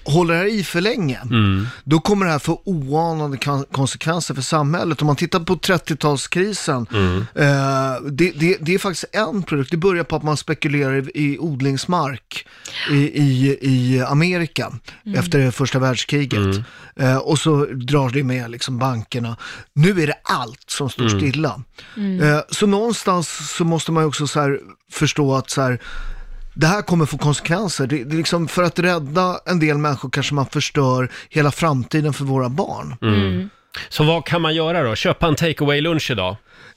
[SPEAKER 9] håller det här i för länge, då kommer det här få oanade kan- konsekvenser för samhället. Om man tittar på 30-talskrisen, eh, det, det, det är faktiskt en produkt. Det börjar på att man spekulerar i, i odlingsmark i, i, i Amerika efter första världskriget. Eh, och så drar det med liksom bankerna. Nu är det allt som står stilla.
[SPEAKER 6] Mm.
[SPEAKER 9] Eh, så någonstans så måste man ju också så här förstå att så här, det här kommer få konsekvenser. Det, det är liksom för att rädda en del människor kanske man förstör hela framtiden för våra barn.
[SPEAKER 1] Mm.
[SPEAKER 2] Mm.
[SPEAKER 1] Så vad kan man göra då? Köpa en takeaway lunch idag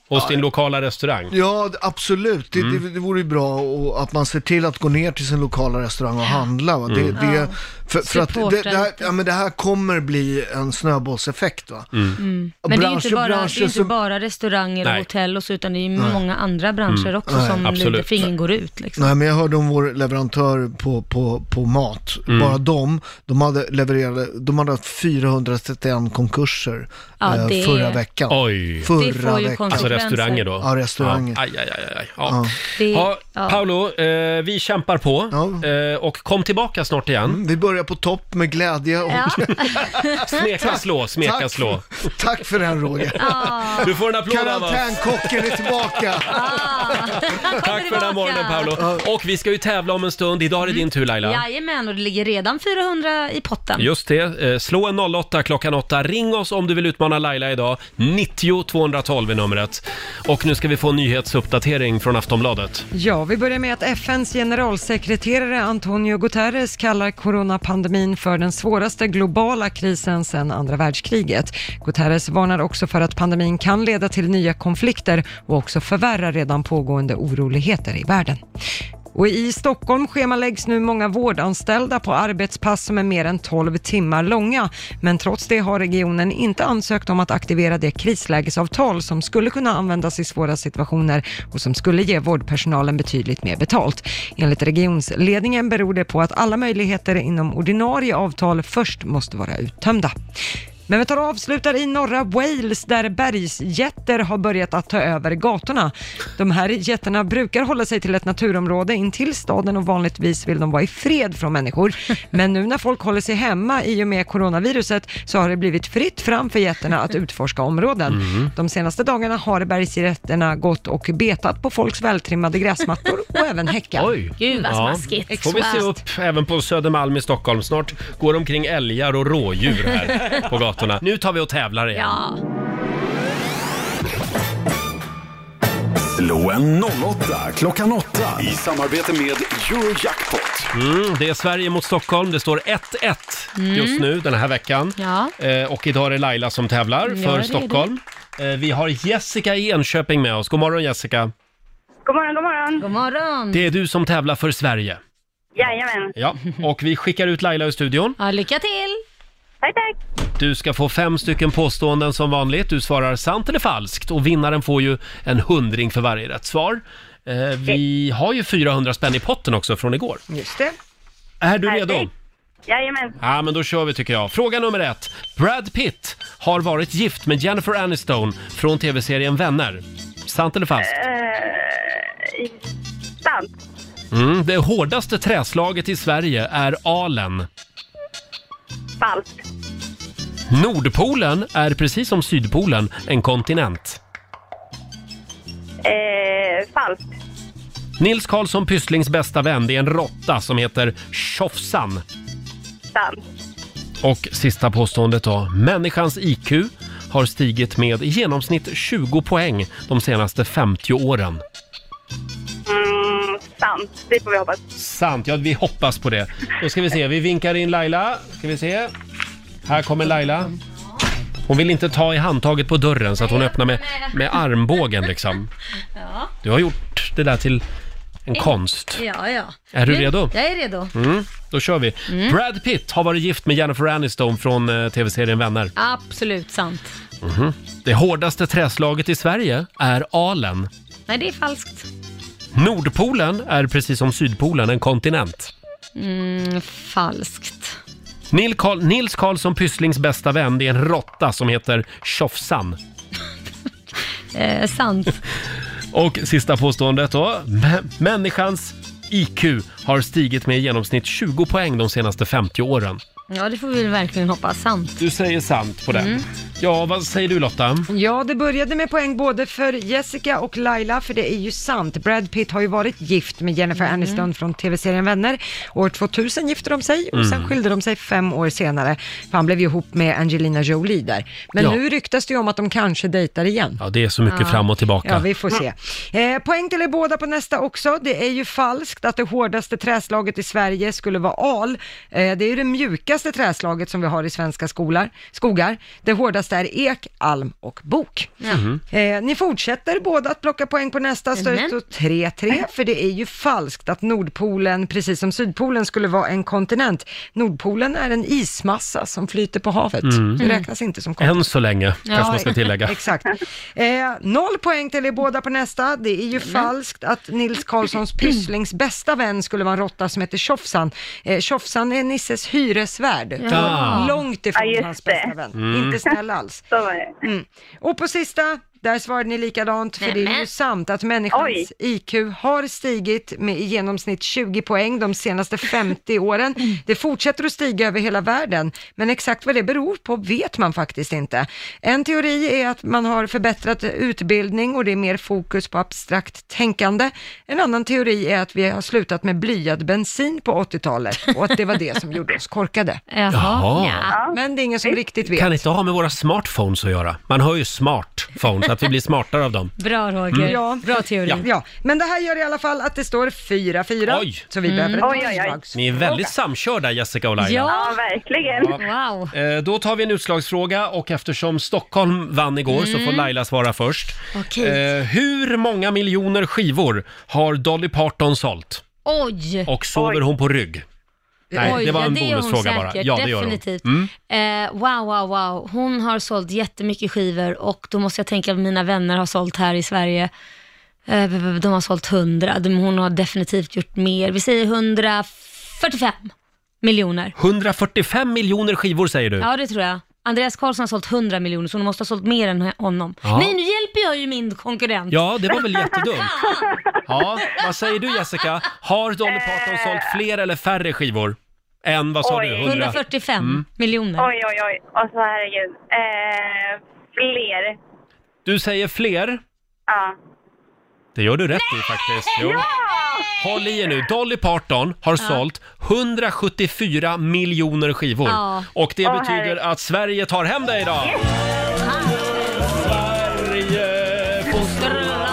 [SPEAKER 1] hos din lokala restaurang?
[SPEAKER 9] Ja, d- absolut. Det, det, det vore ju bra och att man ser till att gå ner till sin lokala restaurang och handla. Va? Det, det, för, för att det,
[SPEAKER 2] Supporta
[SPEAKER 9] det, här,
[SPEAKER 2] lite.
[SPEAKER 9] ja, men det här kommer bli en snöbollseffekt. Va?
[SPEAKER 6] Mm.
[SPEAKER 9] Och
[SPEAKER 2] Men det är
[SPEAKER 9] branscher-
[SPEAKER 2] inte bara, det
[SPEAKER 9] branscher
[SPEAKER 2] är inte
[SPEAKER 9] som-
[SPEAKER 2] bara restauranger och
[SPEAKER 1] Nej.
[SPEAKER 2] hotell och så, utan det är ju många andra branscher också som
[SPEAKER 1] Mm. absolut.
[SPEAKER 2] lider för ingen går ut liksom.
[SPEAKER 9] Nej, men jag hörde om vår leverantör på, på, på mat.
[SPEAKER 1] Mm.
[SPEAKER 9] Bara de, de hade levererat, de hade haft 431 konkurser
[SPEAKER 2] Ja,
[SPEAKER 9] eh,
[SPEAKER 2] det-
[SPEAKER 9] förra veckan.
[SPEAKER 1] Oj!
[SPEAKER 2] Det får
[SPEAKER 9] Förra
[SPEAKER 2] ju
[SPEAKER 9] veckan.
[SPEAKER 1] Alltså
[SPEAKER 2] konsekvenser.
[SPEAKER 1] restauranger då?
[SPEAKER 9] Ja, restauranger.
[SPEAKER 1] Ja, aj, aj, aj, aj. Ja.
[SPEAKER 2] Det-
[SPEAKER 1] Ja,
[SPEAKER 2] ja.
[SPEAKER 1] Paolo, eh, vi kämpar på
[SPEAKER 9] Ja. Mm,
[SPEAKER 1] eh, och kom tillbaka snart igen.
[SPEAKER 9] Vi börjar på topp med glädje och
[SPEAKER 2] Ja.
[SPEAKER 1] Smeka slå, smeka
[SPEAKER 9] tack,
[SPEAKER 1] slå.
[SPEAKER 9] tack för den Roger.
[SPEAKER 1] Du får en applåd av oss.
[SPEAKER 9] Karantänkocken är tillbaka.
[SPEAKER 1] Tack för den här morgonen Paolo. Och vi ska ju tävla om en stund. Idag är det din tur Laila.
[SPEAKER 2] Jajamän, och det ligger redan 400 i potten.
[SPEAKER 1] Just det. Eh, Slå en 08 klockan 8. Ring oss om du vill utmana Laila idag. 90 212 är numret. Och nu ska vi få en nyhetsuppdatering från Aftonbladet.
[SPEAKER 3] Ja, vi börjar med att FNs generalsekreterare Antonio Guterres kallar coronapandemin för den svåraste globala krisen sedan andra världskriget. Guterres varnar också för att pandemin kan leda till nya konflikter och också förvärra redan pågående oroligheter i världen. Och I Stockholm schemaläggs nu många vårdanställda på arbetspass som är mer än 12 timmar långa. Men trots det har regionen inte ansökt om att aktivera det krislägesavtal som skulle kunna användas i svåra situationer och som skulle ge vårdpersonalen betydligt mer betalt. Enligt regionsledningen beror det på att alla möjligheter inom ordinarie avtal först måste vara uttömda. Men vi tar och avslutar i norra Wales där bergsjätter har börjat att ta över gatorna. De här jätterna brukar hålla sig till ett naturområde intill staden och vanligtvis vill de vara i fred från människor. Men nu när folk håller sig hemma i och med coronaviruset så har det blivit fritt fram för jätterna att utforska områden.
[SPEAKER 1] Mm.
[SPEAKER 3] De senaste dagarna har bergsjätterna gått och betat på folks vältrimmade gräsmattor och även häckar.
[SPEAKER 1] Oj!
[SPEAKER 2] Gud vad smaskigt.
[SPEAKER 1] Får vi se
[SPEAKER 2] Exakt.
[SPEAKER 1] upp även på Södermalm i Stockholm. Snart går omkring älgar och rådjur här på gatorna. Nu tar vi och tävlar igen.
[SPEAKER 2] Ja.
[SPEAKER 4] Slå en 08 klockan 8 i samarbete med Eurojackpot.
[SPEAKER 1] Mm, det är Sverige mot Stockholm. Det står 1-1
[SPEAKER 4] Mm.
[SPEAKER 1] just nu den här veckan.
[SPEAKER 2] Ja.
[SPEAKER 1] Eh, och idag är det Laila som tävlar
[SPEAKER 2] Ja, det är
[SPEAKER 1] för
[SPEAKER 2] det.
[SPEAKER 1] Stockholm. Eh, vi har Jessica i Enköping med oss. God morgon Jessica.
[SPEAKER 11] God morgon, god morgon.
[SPEAKER 2] God morgon.
[SPEAKER 1] Det är du som tävlar för Sverige.
[SPEAKER 11] Jajamän.
[SPEAKER 1] Ja, och vi skickar ut Laila ur studion.
[SPEAKER 2] Ja, lycka till!
[SPEAKER 11] Tack, tack.
[SPEAKER 1] Du ska få fem stycken påståenden som vanligt. Du svarar sant eller falskt och vinnaren får ju en hundring för varje rätt svar. Eh, vi har ju 400 spänn i potten också från igår.
[SPEAKER 3] Just det.
[SPEAKER 1] Är du redo?
[SPEAKER 11] Jajamän.
[SPEAKER 1] Ja, men då kör vi tycker jag. Fråga nummer ett. Brad Pitt har varit gift med Jennifer Aniston från tv-serien Vänner. Sant eller falskt?
[SPEAKER 11] Eh, sant.
[SPEAKER 1] Mm, det hårdaste träslaget i Sverige är Alen.
[SPEAKER 11] Falskt.
[SPEAKER 1] Nordpolen är precis som Sydpolen en kontinent.
[SPEAKER 11] Eh, falskt.
[SPEAKER 1] Nils Karlsson Pysslings bästa vän det är en råtta som heter
[SPEAKER 11] Mm,
[SPEAKER 1] Tjofsan.
[SPEAKER 11] Sant.
[SPEAKER 1] Och sista påståendet då. Människans IQ har stigit med i genomsnitt 20 poäng de senaste 50 åren.
[SPEAKER 11] Mm, sant. Det får vi hoppas.
[SPEAKER 1] Sant, ja vi hoppas på det. Då ska vi se, vi vinkar in Laila. Ska vi se. Här kommer Laila. Hon vill inte ta i handtaget på dörren så att hon öppnar med, med armbågen liksom.
[SPEAKER 2] Ja.
[SPEAKER 1] Du har gjort det där till en
[SPEAKER 2] Eh.
[SPEAKER 1] konst.
[SPEAKER 2] Ja, ja.
[SPEAKER 1] Är du
[SPEAKER 2] Nu-
[SPEAKER 1] redo?
[SPEAKER 2] Jag är redo.
[SPEAKER 1] Mm, då kör vi. Brad Pitt har varit gift med Jennifer Aniston från eh, tv-serien Vänner.
[SPEAKER 2] Absolut sant.
[SPEAKER 1] Mhm. Det hårdaste träslaget i Sverige är Alen.
[SPEAKER 2] Nej, det är falskt.
[SPEAKER 1] Nordpolen är precis som Sydpolen en kontinent.
[SPEAKER 2] Mm, falskt.
[SPEAKER 1] Nil Karl, Nils Karlsson Pysslings bästa vän det är en råtta som heter Tjofsan.
[SPEAKER 2] Eh, sant.
[SPEAKER 1] Och sista påståendet då. M- människans IQ har stigit med i genomsnitt 20 poäng de senaste 50 åren.
[SPEAKER 2] Ja, det får vi verkligen hoppas. Sant.
[SPEAKER 1] Du säger sant på den.
[SPEAKER 2] Mm.
[SPEAKER 1] Ja, vad säger du Lotta?
[SPEAKER 3] Ja, det började med poäng både för Jessica och Laila, för det är ju sant. Brad Pitt har ju varit gift med Jennifer
[SPEAKER 1] Mm.
[SPEAKER 3] Aniston från tv-serien Vänner. År 2000 gifte de sig och sen
[SPEAKER 13] Mm.
[SPEAKER 3] skilde de sig fem år senare, för han blev ju ihop med Angelina Jolie där. Men
[SPEAKER 1] Ja.
[SPEAKER 3] nu ryktas det ju om att de kanske dejtar igen.
[SPEAKER 1] Ja, det är så mycket fram och tillbaka.
[SPEAKER 3] Ja, vi får se. Eh, poäng till er båda på nästa också. Det är ju falskt att det hårdaste träslaget i Sverige skulle vara al. Eh, det är ju det mjukaste träslaget som vi har i svenska skolar, skogar. Det hårdaste är ek, alm och bok.
[SPEAKER 13] Mhm.
[SPEAKER 3] Eh, ni fortsätter båda att plocka poäng på nästa, så det
[SPEAKER 13] Jajamän.
[SPEAKER 3] står 3-3, för det är ju falskt att Nordpolen, precis som Sydpolen, skulle vara en kontinent. Nordpolen är en ismassa som flyter på havet.
[SPEAKER 1] Mm.
[SPEAKER 3] Det räknas inte som kontinent.
[SPEAKER 1] Än så länge, kanske man ska tillägga.
[SPEAKER 3] Exakt. Eh, noll poäng till er båda på nästa. Det
[SPEAKER 13] Mm.
[SPEAKER 3] är ju falskt att Nils Karlssons Pysslings bästa vän skulle vara en råtta som heter Tjofsan. Eh, Tjofsan är Nisses hyresvärd.
[SPEAKER 13] Ja.
[SPEAKER 3] Långt ifrån
[SPEAKER 13] Ja, just
[SPEAKER 3] hans bästa vän.
[SPEAKER 13] Mm.
[SPEAKER 3] Inte snäll alls. Mm. Och på sista, där svarade ni likadant, för det är ju sant att människans
[SPEAKER 13] Oj.
[SPEAKER 3] IQ har stigit med i genomsnitt 20 poäng de senaste 50 åren. Det fortsätter att stiga över hela världen, men exakt vad det beror på vet man faktiskt inte. En teori är att man har förbättrat utbildning och det är mer fokus på abstrakt tänkande. En annan teori är att vi har slutat med blyad bensin på 80-talet och att det var det som gjorde oss korkade.
[SPEAKER 2] Jaha.
[SPEAKER 1] Jaha.
[SPEAKER 3] Men det är ingen som riktigt vet.
[SPEAKER 1] Kan inte ha med våra smartphones att göra. Man hör ju smartphones, att vi blir smartare av dem.
[SPEAKER 2] Bra Roger.
[SPEAKER 1] Mm.
[SPEAKER 3] Ja.
[SPEAKER 2] Bra teori.
[SPEAKER 1] Ja.
[SPEAKER 3] Ja, men det här gör i alla fall att det står 4-4.
[SPEAKER 1] Oj.
[SPEAKER 3] Så vi
[SPEAKER 1] Mm.
[SPEAKER 3] behöver
[SPEAKER 1] Oj,
[SPEAKER 3] ett
[SPEAKER 1] oj,
[SPEAKER 3] utslag.
[SPEAKER 1] Ni är väldigt samkörda Jessica och Laila.
[SPEAKER 11] verkligen.
[SPEAKER 2] Wow.
[SPEAKER 1] Eh, Då tar vi en utslagsfråga och eftersom Stockholm vann igår så
[SPEAKER 2] Mm.
[SPEAKER 1] får Laila svara först.
[SPEAKER 2] Okej.
[SPEAKER 1] Eh, Hur många miljoner skivor har Dolly Parton sålt?
[SPEAKER 2] Oj!
[SPEAKER 1] Och sover hon på rygg? Nej,
[SPEAKER 2] Oj,
[SPEAKER 1] det var
[SPEAKER 2] ja,
[SPEAKER 1] en
[SPEAKER 2] gör hon
[SPEAKER 1] bonusfråga bara.
[SPEAKER 2] säkert,
[SPEAKER 1] Ja, det gör
[SPEAKER 2] definitivt.
[SPEAKER 1] hon. Mm.
[SPEAKER 2] Eh, wow, wow, wow. Hon har sålt jättemycket skivor och då måste jag tänka att mina vänner har sålt här i Sverige. Eh, de har sålt 100, De- hon har definitivt gjort mer. Vi säger 145 miljoner.
[SPEAKER 1] 145 miljoner skivor säger du?
[SPEAKER 2] Ja, det tror jag. Andreas Karlsson har sålt 100 miljoner, så hon måste ha sålt mer än honom.
[SPEAKER 1] Ja.
[SPEAKER 2] Nej, nu hjälper jag ju min konkurrent.
[SPEAKER 1] Ja, det var väl jättedumt. Ja, vad säger du Jessica? Har Dolly Parton sålt fler eller färre skivor? Än, vad sa du? Mm. 100?
[SPEAKER 2] 145 miljoner.
[SPEAKER 11] Oj, oj, oj. Alltså herregud. Eh, fler.
[SPEAKER 1] Du säger fler.
[SPEAKER 11] Ja.
[SPEAKER 1] Det gör du rätt i faktiskt. Jo. Håll i er nu. Dolly Parton har sålt 174 miljoner skivor.
[SPEAKER 13] Ja.
[SPEAKER 1] Och det
[SPEAKER 13] Åh,
[SPEAKER 1] betyder
[SPEAKER 13] herregud.
[SPEAKER 1] att Sverige tar hem det idag. Sverige får stråla.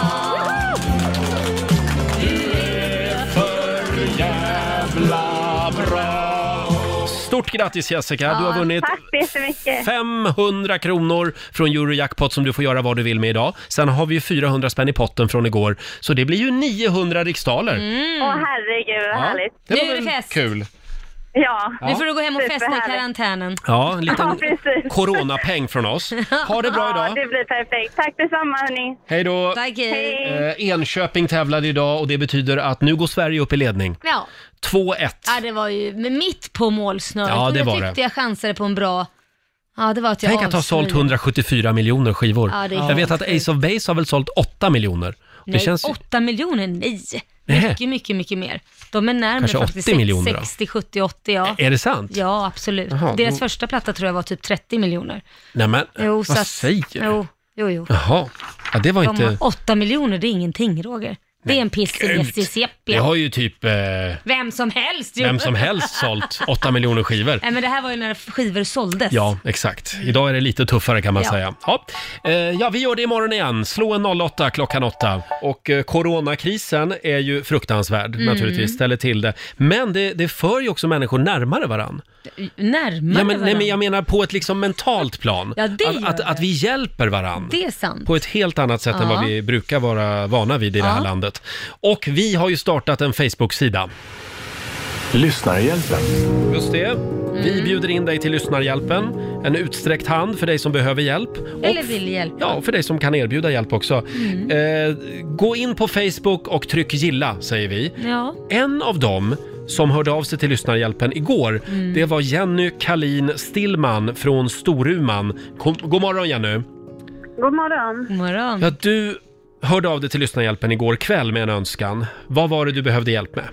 [SPEAKER 1] Stort grattis Jessica, du har vunnit
[SPEAKER 11] Tack så jättemycket.
[SPEAKER 1] 500 kronor från Eurojackpot som du får göra vad du vill med idag. Sen har vi 400 spänn i potten från igår, så det blir ju 900 riksdaler.
[SPEAKER 2] Mm.
[SPEAKER 11] Åh herregud Mm, vad härligt.
[SPEAKER 1] det var väl Kul!
[SPEAKER 11] Ja.
[SPEAKER 1] Nu får
[SPEAKER 2] du gå hem och festa i
[SPEAKER 11] Superhärligt.
[SPEAKER 2] karantänen.
[SPEAKER 1] Ja, en
[SPEAKER 11] Ja,
[SPEAKER 1] liten
[SPEAKER 11] precis.
[SPEAKER 1] coronapeng från oss. Ha det bra
[SPEAKER 11] Ja,
[SPEAKER 1] idag!
[SPEAKER 11] det blir perfekt. Tack detsamma hörni.
[SPEAKER 1] Hej då!
[SPEAKER 11] Tack, hej.
[SPEAKER 1] Eh, Enköping tävlade idag och det betyder att nu går Sverige upp i ledning.
[SPEAKER 2] Ja.
[SPEAKER 1] 2-1.
[SPEAKER 2] ja, det var ju men mitt på målsnöret.
[SPEAKER 1] Ja,
[SPEAKER 2] Och
[SPEAKER 1] det
[SPEAKER 2] jag
[SPEAKER 1] var
[SPEAKER 2] tyckte
[SPEAKER 1] det.
[SPEAKER 2] jag chansade på en bra... Ja, det var att jag
[SPEAKER 1] Tänk att ha sålt
[SPEAKER 2] avslöjade.
[SPEAKER 1] 174 miljoner skivor.
[SPEAKER 2] Ja, det är
[SPEAKER 1] Jag vet att
[SPEAKER 2] helt
[SPEAKER 1] Ace of Base har väl sålt 8 miljoner.
[SPEAKER 2] Nej,
[SPEAKER 1] det känns ju-
[SPEAKER 2] 8 miljoner, nej.
[SPEAKER 1] Nej.
[SPEAKER 2] Mycket, mycket, mycket mer. De är närmare
[SPEAKER 1] Kanske 80
[SPEAKER 2] faktiskt. 60,
[SPEAKER 1] miljoner då?
[SPEAKER 2] 60, 70, 80 ja.
[SPEAKER 1] Är det sant?
[SPEAKER 2] Ja, absolut.
[SPEAKER 1] Jaha,
[SPEAKER 2] Deras
[SPEAKER 1] då-
[SPEAKER 2] första platta tror jag var typ 30 miljoner.
[SPEAKER 1] Nej men,
[SPEAKER 2] Jo,
[SPEAKER 1] vad
[SPEAKER 2] så att-
[SPEAKER 1] säger du?
[SPEAKER 2] Jo, jo, jo.
[SPEAKER 1] Jaha, ja, det var
[SPEAKER 2] De
[SPEAKER 1] inte...
[SPEAKER 2] har 8 miljoner, det är ingenting Roger. Det är en piss
[SPEAKER 1] gud.
[SPEAKER 2] i
[SPEAKER 1] Det
[SPEAKER 2] sepia.
[SPEAKER 1] har ju typ eh,
[SPEAKER 2] Vem som helst ju.
[SPEAKER 1] vem som helst sålt 8 miljoner skivor.
[SPEAKER 2] Nej men det här var ju när skivor såldes.
[SPEAKER 1] Ja, exakt. Idag är det lite tuffare kan man
[SPEAKER 2] Ja.
[SPEAKER 1] säga. Ja. Eh, ja, vi gör det imorgon igen. Slå en 08 klockan 8. Och eh, coronakrisen är ju fruktansvärd
[SPEAKER 2] Mm.
[SPEAKER 1] naturligtvis, ställer till det. Men det, det för ju också människor närmare varann.
[SPEAKER 2] Närmare
[SPEAKER 1] Ja, men, nej,
[SPEAKER 2] varandra.
[SPEAKER 1] men jag menar på ett liksom mentalt plan.
[SPEAKER 2] Ja, det
[SPEAKER 1] att,
[SPEAKER 2] gör
[SPEAKER 1] att,
[SPEAKER 2] det.
[SPEAKER 1] att vi hjälper varann.
[SPEAKER 2] Det är sant.
[SPEAKER 1] På ett helt annat sätt än
[SPEAKER 2] Ja.
[SPEAKER 1] vad vi brukar vara vana vid i det här
[SPEAKER 2] Ja.
[SPEAKER 1] landet. Och vi har ju startat en Facebook-sida. Lyssnarhjälpen. Just det.
[SPEAKER 2] Mm.
[SPEAKER 1] Vi bjuder in dig till Lyssnarhjälpen. En utsträckt hand för dig som behöver hjälp.
[SPEAKER 2] Eller
[SPEAKER 1] Och-
[SPEAKER 2] vill hjälpa.
[SPEAKER 1] Ja, och för dig som kan erbjuda hjälp också.
[SPEAKER 2] Mm.
[SPEAKER 1] Eh, gå in på Facebook och tryck gilla, säger vi.
[SPEAKER 2] Ja.
[SPEAKER 1] En av dem som hörde av sig till Lyssnarhjälpen igår,
[SPEAKER 2] Mm.
[SPEAKER 1] det var Jenny Kalin Stillman från Storuman. Kom, god morgon Jenny!
[SPEAKER 11] God morgon.
[SPEAKER 2] God morgon.
[SPEAKER 1] Ja, du hörde av dig till Lyssnarhjälpen igår kväll med en önskan. Vad var det du behövde hjälp med?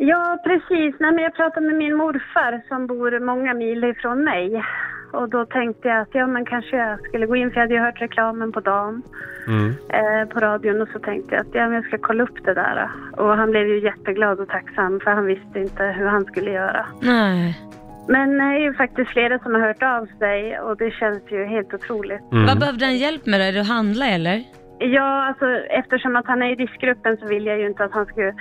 [SPEAKER 11] Ja, precis. Nej, men jag pratade med min morfar som bor många mil ifrån mig. Och då tänkte jag att ja, men kanske jag skulle gå in, för jag hade ju hört reklamen på dagen
[SPEAKER 1] Mm.
[SPEAKER 11] eh, på radion. Och så tänkte jag att ja, men jag ska kolla upp det där. Och han blev ju jätteglad och tacksam, för han visste inte hur han skulle göra.
[SPEAKER 2] Nej.
[SPEAKER 11] Men eh, det är ju faktiskt flera som har hört av sig och det känns ju helt otroligt.
[SPEAKER 2] Mm. Vad behövde han hjälp med då? Är det att handla eller?
[SPEAKER 11] Ja, alltså eftersom att han är i riskgruppen så vill jag ju inte att han skulle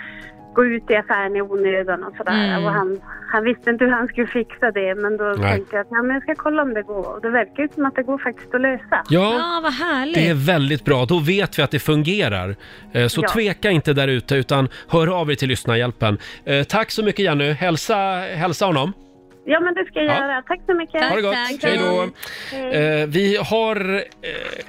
[SPEAKER 11] gå ut i affären i onödan och sådär.
[SPEAKER 2] Mm.
[SPEAKER 11] Och han, han visste inte hur han skulle fixa det men då
[SPEAKER 1] Nej.
[SPEAKER 11] tänkte jag att ja, men jag ska kolla om det går. Och det verkar ju som att det går faktiskt att lösa.
[SPEAKER 1] Ja. Ja,
[SPEAKER 2] vad härligt.
[SPEAKER 1] Det är väldigt bra, då vet vi att det fungerar. Eh, Så
[SPEAKER 11] Ja.
[SPEAKER 1] tveka inte där ute utan hör av er till Lyssnarhjälpen. Eh, Tack så mycket Jenny, hälsa, hälsa honom.
[SPEAKER 11] Ja, men det ska jag
[SPEAKER 1] Ja.
[SPEAKER 11] göra. Tack så mycket.
[SPEAKER 1] Ha det gott. Hej då. Eh, Vi har eh,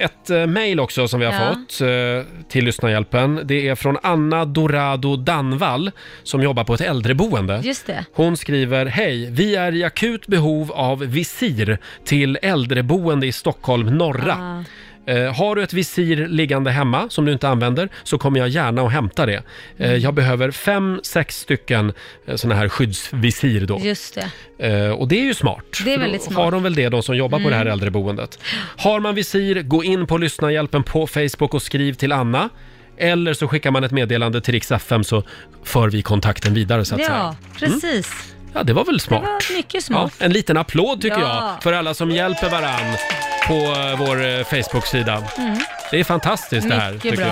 [SPEAKER 1] ett eh, mejl också som vi har
[SPEAKER 11] Ja.
[SPEAKER 1] fått eh, till Lyssnarhjälpen. Det är från Anna Dorado Danvall som jobbar på ett äldreboende.
[SPEAKER 2] Just det.
[SPEAKER 1] Hon skriver, hej, vi är i akut behov av visir till äldreboende i Stockholm norra.
[SPEAKER 2] Ah.
[SPEAKER 1] Eh, har du ett visir liggande hemma som du inte använder så kommer jag gärna och hämta det. Eh,
[SPEAKER 2] Mm.
[SPEAKER 1] jag behöver fem, sex stycken eh, såna här skyddsvisir då.
[SPEAKER 2] Just det.
[SPEAKER 1] Eh, och det är ju smart.
[SPEAKER 2] Det är
[SPEAKER 1] för då
[SPEAKER 2] väldigt smart.
[SPEAKER 1] har de väl det, de som jobbar på det här
[SPEAKER 2] Mm.
[SPEAKER 1] äldreboendet. Har man visir, gå in på Lyssnarhjälpen på Facebook och skriv till Anna. Eller så skickar man ett meddelande till Rix FM så för vi kontakten vidare så att
[SPEAKER 2] Ja,
[SPEAKER 1] säga.
[SPEAKER 2] precis.
[SPEAKER 1] Ja, det var väl smart.
[SPEAKER 2] Det var mycket smart.
[SPEAKER 1] Ja, en liten applåd tycker
[SPEAKER 2] Ja.
[SPEAKER 1] jag för alla som hjälper varann på eh, vår eh, Facebook-sida.
[SPEAKER 2] Mm.
[SPEAKER 1] Det är fantastiskt det här
[SPEAKER 2] Mycket
[SPEAKER 1] tycker
[SPEAKER 2] bra.